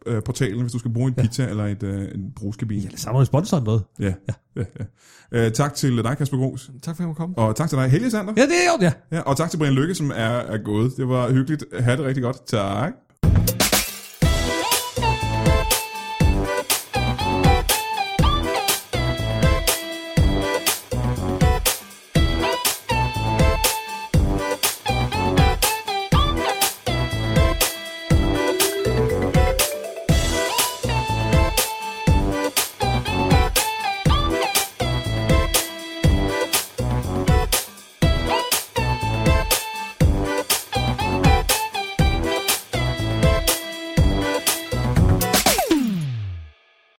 Speaker 1: Sander-portalen, hvis du skal bruge en pizza eller et, øh, en brugskabine.
Speaker 2: Ja, Samler sponsoren noget.
Speaker 1: Ja. ja. ja, ja. Øh, tak til dig, Kasper Gros.
Speaker 3: Tak for at jeg måtte komme.
Speaker 1: Og tak til dig, Helge Sander.
Speaker 2: Ja, det er jo det. Ja.
Speaker 1: Ja, og tak til Brian Lykke, som er, er gået. Det var hyggeligt. Ha' det rigtig godt. Tak.